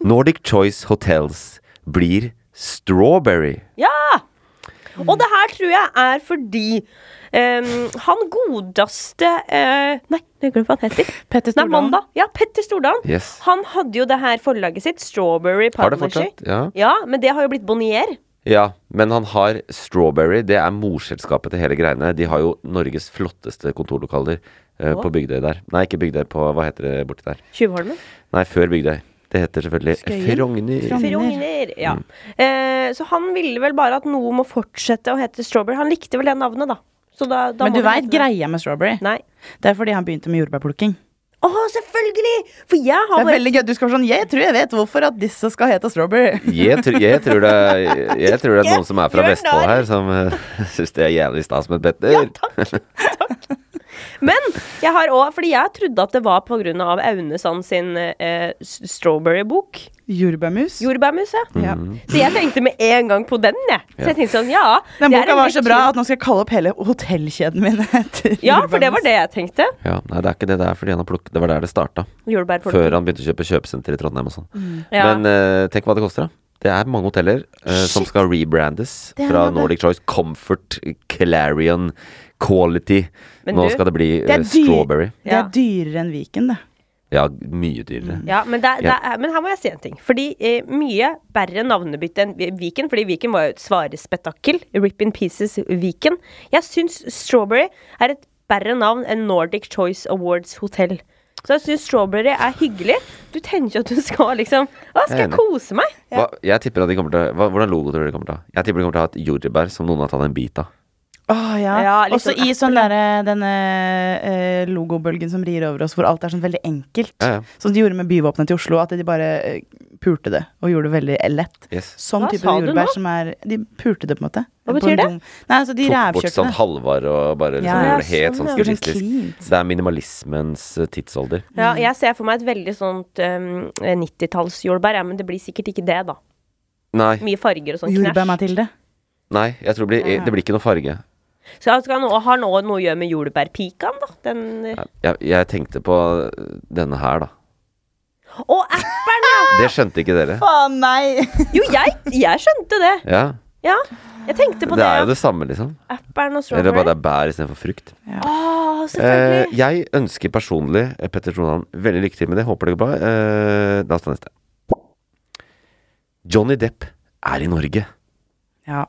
Speaker 1: Nordic Choice Hotels blir Strawberry.
Speaker 2: Ja! Og det her tror jeg er fordi ehm, han godeste eh, Nei, jeg glemte hva han heter.
Speaker 3: Petter
Speaker 2: Stordalen. Nei, Mandag. Ja, Petter Stordalen.
Speaker 1: Yes.
Speaker 2: Han hadde jo det her forlaget sitt, Strawberry
Speaker 1: Har det
Speaker 2: Publishing.
Speaker 1: fortsatt? Ja.
Speaker 2: men det har jo blitt Bonnier.
Speaker 1: Ja, men han har Strawberry. Det er morselskapet til hele greiene. De har jo Norges flotteste kontorlokaler eh,
Speaker 2: Hva?
Speaker 1: på Bygdøy der. Nei, ikke Bygdøy, på hva heter det borti der?
Speaker 2: Tjuvholmen.
Speaker 1: Nei, før Bygdøy. Det heter selvfølgelig Frogner.
Speaker 2: Frogner, ja.
Speaker 1: Mm.
Speaker 2: Eh, så han ville vel bare at noe må fortsette å hete Strawberry. Han likte vel det navnet, da. Så da, da må
Speaker 3: Men du
Speaker 2: det
Speaker 3: veit
Speaker 2: hete det.
Speaker 3: greia med Strawberry? Det er fordi han begynte med jordbærplukking.
Speaker 2: Å, selvfølgelig! For jeg har
Speaker 3: Det er
Speaker 2: bare
Speaker 3: veldig gøy. Du skal være sånn Jeg tror jeg vet hvorfor at disse skal hete Strawberry.
Speaker 1: Jeg, tr jeg, tror det, er- jeg tror det er noen som er fra
Speaker 3: Gjør
Speaker 1: Vestfold
Speaker 3: narr.
Speaker 1: her, som uh, syns det er jævlig stas med Petter.
Speaker 2: Men jeg har òg Fordi jeg trodde at det var pga. Aune Sand sin eh, s- strawberry-bok.
Speaker 3: Jordbærmus.
Speaker 2: Jordbærmus, ja.
Speaker 1: Mm.
Speaker 2: Så jeg tenkte med en gang på den, jeg. Så jeg tenkte sånn, ja
Speaker 3: Den
Speaker 2: det er
Speaker 3: boka
Speaker 2: en
Speaker 3: var så
Speaker 2: lekk-
Speaker 3: bra at nå skal jeg kalle opp hele hotellkjeden min etter
Speaker 2: Ja, for det var det jeg tenkte.
Speaker 1: Ja, nei, det er ikke det. Det er fordi han har plukk... Det var der det starta.
Speaker 2: Jordbærplukking.
Speaker 1: Før han begynte å kjøpe kjøpesenter i Trondheim og sånn.
Speaker 2: Mm. Ja.
Speaker 1: Men eh, tenk hva det koster, da. Det er mange hoteller eh, som skal rebrandes
Speaker 2: Det er
Speaker 1: fra
Speaker 2: det.
Speaker 1: Nordic Choice. Comfort, Clarion, Quality.
Speaker 3: Men
Speaker 1: Nå
Speaker 3: du,
Speaker 1: skal det bli
Speaker 3: det er
Speaker 1: eh,
Speaker 3: dyr-
Speaker 1: Strawberry.
Speaker 3: Det er dyrere enn Viken, det.
Speaker 1: Ja, mye dyrere.
Speaker 3: Mm,
Speaker 2: Ja, men, det, er- det,
Speaker 1: Ja.
Speaker 2: er- men her må jeg si en ting. Fordi eh, mye verre navnebytte enn Vi- Viken. Fordi Viken var jo et svare spetakkel. Rip in pieces Viken. Jeg syns Strawberry er et verre navn enn Nordic Choice Awards Hotel. Så jeg syns Strawberry er hyggelig. Du tenker at du skal liksom Å,
Speaker 1: Jeg
Speaker 2: skal
Speaker 1: er
Speaker 2: jeg
Speaker 1: enig.
Speaker 2: kose meg?
Speaker 1: Hva, jeg tipper at de kommer til hva, Hvordan logo tror dere de kommer til å ha? Jeg tipper de kommer til å ha et jordbær som noen har tatt en bit av.
Speaker 3: Åh, ja.
Speaker 2: Ja, litt
Speaker 3: Også
Speaker 2: sånn
Speaker 3: i sånn derre denne eh, logobølgen som rir over oss, hvor alt er sånn veldig enkelt.
Speaker 1: Ja, ja.
Speaker 3: Som de gjorde med byvåpenet til Oslo, at de bare eh, pulte det og gjorde det veldig lett.
Speaker 1: Yes.
Speaker 3: Sånn
Speaker 2: Hva
Speaker 3: type
Speaker 2: sa du nå?
Speaker 3: jordbær som er De pulte det, på en måte.
Speaker 2: Hva
Speaker 3: På en
Speaker 2: betyr det?
Speaker 3: dum- Nei, altså de
Speaker 1: Tok bort
Speaker 3: rævkjørte
Speaker 1: sånn
Speaker 3: det.
Speaker 1: halvvar og bare liksom,
Speaker 3: Ja, ja,
Speaker 1: gjorde det helt
Speaker 3: sånn,
Speaker 1: sånn
Speaker 3: ja. Gjorde sånn
Speaker 1: stilistisk. Det er minimalismens eh, tidsalder.
Speaker 2: Ja, jeg ser for meg et veldig sånt um, 90-tallsjordbær, ja, men det blir sikkert ikke det, da.
Speaker 1: Nei.
Speaker 2: Mye farger og sånn
Speaker 3: Jordbær,
Speaker 2: knæsj.
Speaker 3: Mathilde.
Speaker 1: Nei, jeg tror det blir,
Speaker 2: Ja.
Speaker 1: det blir ikke noe farge.
Speaker 2: Så jeg skal nå, har nå noe å gjøre med jordbærpikaen, da. Den eh,
Speaker 1: Jeg, jeg tenkte på eh, denne her, da.
Speaker 2: Å, appelen, ja!
Speaker 1: Det skjønte ikke dere.
Speaker 3: Å nei!
Speaker 2: Jo, jeg, jeg skjønte det.
Speaker 1: Ja,
Speaker 2: Ja. Jeg tenkte på
Speaker 1: Det
Speaker 2: det.
Speaker 1: er jo det samme, liksom.
Speaker 2: Appelen og
Speaker 1: Eller bare
Speaker 2: strawberry.
Speaker 1: det er bær istedenfor frukt.
Speaker 2: Å,
Speaker 1: Eh,
Speaker 2: selvfølgelig.
Speaker 1: jeg ønsker personlig eh, Petter Tronan veldig lykke til med det. Håper det går bra. Eh, la oss ta neste. Johnny Depp er i Norge.
Speaker 3: Ja.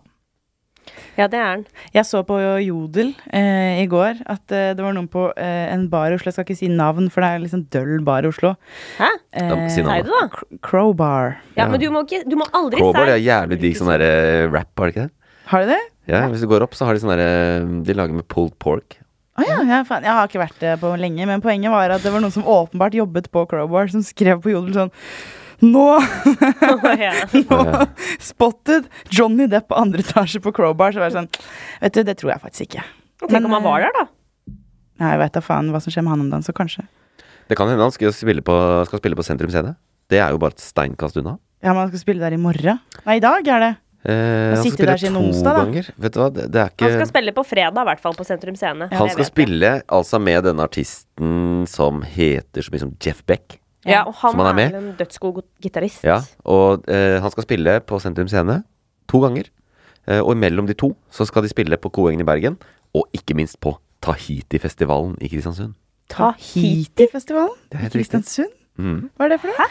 Speaker 2: Ja, det er den.
Speaker 3: Jeg så på Jodel eh, i går at eh, det var noen på eh, en bar i Oslo. Jeg skal ikke si navn, for det er liksom døll bar i Oslo.
Speaker 2: Hæ?
Speaker 3: Eh,
Speaker 1: si navnet.
Speaker 2: Sier du da?
Speaker 3: Cr- Crowbar.
Speaker 2: Ja, men du må, ikke, du må aldri
Speaker 1: Cowboy er
Speaker 2: si
Speaker 1: jævlig digg sånn derre rap, har de ikke det?
Speaker 3: Har de det?
Speaker 1: Ja, Hvis du går opp, så har de sånn derre De lager med pulled pork.
Speaker 3: Å ja, ja, faen. Jeg har ikke vært det på lenge, men poenget var at det var noen som åpenbart jobbet på Crowbar, som skrev på Jodel sånn Nå, nå
Speaker 1: Eh,
Speaker 3: spotted Johnny Depp på andre etasje på Crowbar. Så var det sånn Vet du, det tror jeg faktisk ikke.
Speaker 2: Tenk om han var der, da.
Speaker 3: Nei, jeg veit da faen hva som skjer med han om dagen, så kanskje.
Speaker 1: Det kan hende han skal spille på, skal spille på Sentrum Scene. Det er jo bare et steinkast unna.
Speaker 3: Ja, men han skal spille der i morgen. Nei, i dag er det.
Speaker 1: Eh,
Speaker 3: Han
Speaker 1: han skal
Speaker 3: sitter
Speaker 1: spille
Speaker 3: der siden
Speaker 1: to
Speaker 3: onsdag, da.
Speaker 1: ganger. Vet du hva, det, det er ikke
Speaker 2: Han skal spille på fredag, i hvert fall, på Sentrum Scene.
Speaker 1: Han
Speaker 2: Det
Speaker 1: skal
Speaker 2: vet jeg.
Speaker 1: spille altså med denne artisten som heter så mye som Jeff Beck.
Speaker 2: Ja, og han,
Speaker 1: Som han er
Speaker 2: er,
Speaker 1: med.
Speaker 2: vel en dødsgod gitarist.
Speaker 1: Ja, og eh, han skal spille på Sentrum Scene to ganger. Eh, og imellom de to så skal de spille på Koengen i Bergen, og ikke minst på Tahiti-festivalen i Kristiansund.
Speaker 3: Tahiti-festivalen
Speaker 1: Det er
Speaker 3: i
Speaker 1: helt riktig.
Speaker 3: Kristiansund.
Speaker 1: Mm.
Speaker 3: Hva er det for noe?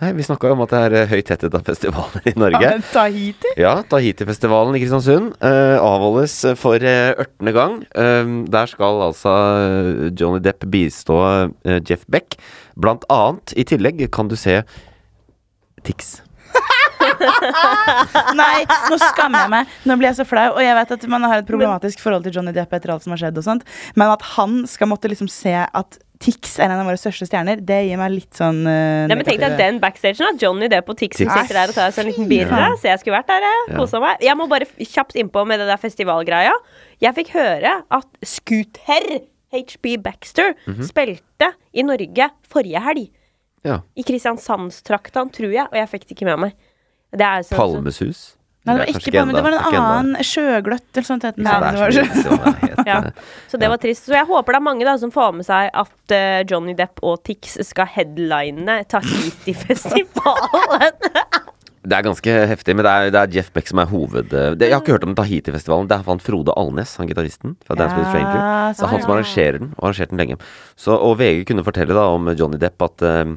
Speaker 1: Nei, vi snakka jo om at det er eh, høy tetthet av festivaler i Norge.
Speaker 3: Ja, men Tahiti?
Speaker 1: Ja, Tahiti-festivalen i Kristiansund eh, avholdes for eh, ørtende gang. Eh, der skal altså eh, Johnny Depp bistå eh, Jeff Beck. Blant annet, i tillegg, kan du se Tix.
Speaker 3: Nei, nå skammer jeg meg. Nå blir jeg så flau. Og jeg vet at man har et problematisk forhold til Johnny Depp etter alt som har skjedd og sånt, men at han skal måtte liksom se at Tix er en av våre største stjerner, det gir meg litt sånn eh,
Speaker 2: Nei, men tenk deg
Speaker 3: negativ-
Speaker 2: den backstagen da. Johnny det på Tix som
Speaker 3: Tix.
Speaker 2: sitter der og tar seg en liten birra.
Speaker 3: Ja.
Speaker 2: Så jeg skulle vært der, jeg.
Speaker 3: Ja.
Speaker 2: Kosa meg. Jeg må bare f- kjapt innpå med det der festivalgreia. Jeg fikk høre at Scooter HB Baxter
Speaker 1: Mhm.
Speaker 2: spilte i Norge forrige helg.
Speaker 1: Ja.
Speaker 2: I Kristiansandstraktan, tror jeg, og jeg fikk det ikke med meg. Det er sånn-
Speaker 1: Palmesus.
Speaker 3: Nei, det var ikke Palme, det var en annen sjøgløtt eller sånt. het den.
Speaker 2: Ja,
Speaker 3: Nei,
Speaker 2: det er
Speaker 3: det var
Speaker 2: så
Speaker 3: sjø-
Speaker 2: Ja. Så det var trist. Så jeg håper det er mange da som får med seg at eh, Johnny Depp og Tix skal headline Tahiti-festivalen.
Speaker 1: Det er ganske heftig, men det er, det er Jeff Beck som er hoved... eh, Det, jeg har ikke hørt om Tahiti-festivalen. Det er han Frode Alnes, han gitaristen fra Dance with a Stranger.
Speaker 3: Ja,
Speaker 1: Det er han
Speaker 3: sånn,
Speaker 1: som
Speaker 3: ja.
Speaker 1: arrangerer den, og har arrangert den lenge. Så, og VG kunne fortelle da om Johnny Depp at eh,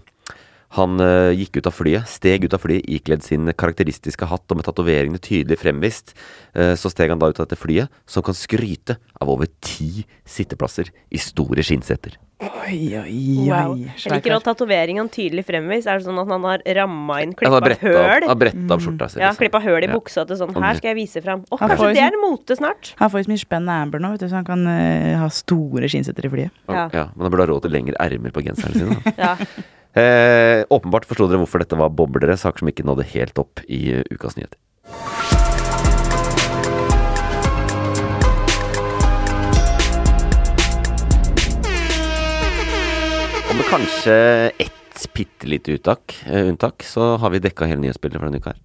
Speaker 1: han eh, gikk ut av flyet, steg ut av flyet ikledd sin karakteristiske hatt og med tatoveringene tydelig fremvist. Eh, så steg han da ut av dette flyet, som kan skryte av over ti sitteplasser i store skinnseter.
Speaker 3: Oi, oi, oi.
Speaker 2: Wow. Jeg
Speaker 3: Sterk,
Speaker 2: liker
Speaker 3: sterk.
Speaker 2: at tatoveringen tydelig fremvis. Er det sånn at han har ramma inn
Speaker 1: Han
Speaker 2: klippa
Speaker 1: har bretta opp-
Speaker 2: høl?
Speaker 1: han har bretta opp skjorta si,
Speaker 2: Ja,
Speaker 1: liksom.
Speaker 2: klippa høl i
Speaker 1: Ja.
Speaker 2: buksa til sånn.
Speaker 1: Han-
Speaker 2: Her skal jeg vise fram. Å,
Speaker 3: Han
Speaker 2: kanskje
Speaker 3: får
Speaker 2: det
Speaker 3: jo- sånn-
Speaker 2: er en mote snart.
Speaker 3: Han får jo så mye spenn av Amber nå, vet du, så han kan eh, ha store skinnsetter i flyet.
Speaker 1: Ja. men han burde ha råd til lengre ermer på genseren sin. Da.
Speaker 2: Ja.
Speaker 1: Eh, åpenbart forsto dere hvorfor dette var boblere, saker som ikke nådde helt opp i eh, ukas nyheter. Og med kanskje ett bitte lite uttak, eh, unntak, så har vi dekka hele nyhetsbildet for denne uka her.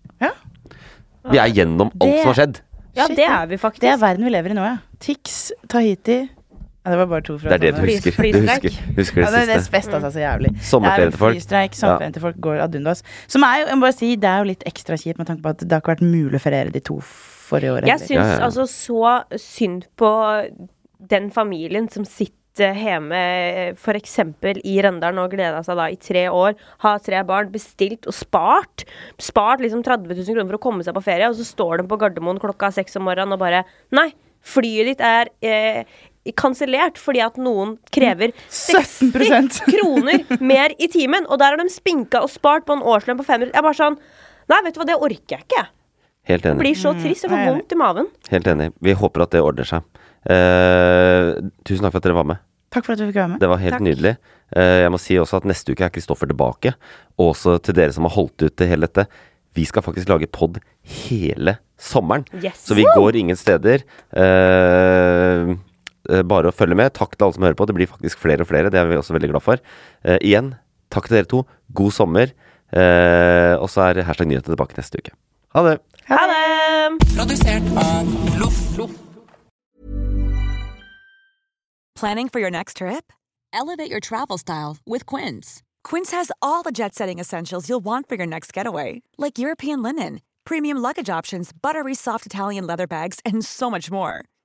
Speaker 1: Vi er gjennom alt
Speaker 3: Det-
Speaker 1: som har skjedd.
Speaker 2: Ja, det er vi faktisk.
Speaker 3: Det er verden vi lever i nå, ja. Tix, Tahiti ja, Det var bare to fra
Speaker 1: Det er det du
Speaker 3: Fly-
Speaker 1: husker. Du
Speaker 3: flystreik.
Speaker 1: husker- husker det
Speaker 3: ja, det, det
Speaker 1: siste. Mm.
Speaker 3: spesta seg så jævlig.
Speaker 1: Sommerferie
Speaker 3: Det er
Speaker 1: til folk.
Speaker 3: Flystreik,
Speaker 1: Ja.
Speaker 3: sommerferien til folk går ad undas. Som er jo, jeg må bare si, det er jo litt ekstra kjipt med tanke på at det har ikke vært mulig å feriere de to forrige årene.
Speaker 2: Jeg syns altså så synd på den familien som sitter sitte hjemme f.eks. i Rendalen og gleda seg da i tre år, ha tre barn, bestilt og spart. Spart liksom 30 000 kroner for å komme seg på ferie, og så står de på Gardermoen klokka seks om morgenen og bare Nei, flyet ditt er eh, kansellert fordi at noen krever 60 kroner mer i timen. Og der har de spinka og spart på en årslønn på 500 Jeg er bare sånn Nei, vet du hva, det orker jeg ikke.
Speaker 1: Helt
Speaker 2: Jeg
Speaker 1: enig.
Speaker 2: blir så trist. Jeg får vondt i maven.
Speaker 1: Helt enig. Vi håper at det ordner seg. Eh, tusen takk for at dere var med.
Speaker 3: Takk for at du fikk være med.
Speaker 1: Det var helt
Speaker 3: Takk.
Speaker 1: nydelig. Eh, jeg må si også at neste uke er Kristoffer tilbake. Og også til dere som har holdt ut til hele dette. Vi skal faktisk lage pod hele sommeren.
Speaker 8: Yes.
Speaker 1: Så vi
Speaker 8: Woo!
Speaker 1: går ingen steder. Eh, eh, bare å følge med. Takk til alle som hører på. Det blir faktisk flere og flere. Det er vi også veldig glad for. Eh, igjen, takk til dere to. God sommer. Eh, og så er hashtag nyheter tilbake neste uke. Ha det.
Speaker 2: Ha det!
Speaker 9: Produsert av Loff.
Speaker 10: Planning for your next trip? Elevate your travel style with Quince.
Speaker 3: Quince has all the jet setting essentials you'll want for your next getaway,
Speaker 10: like European linen, premium luggage options, buttery soft Italian leather bags, and so much more.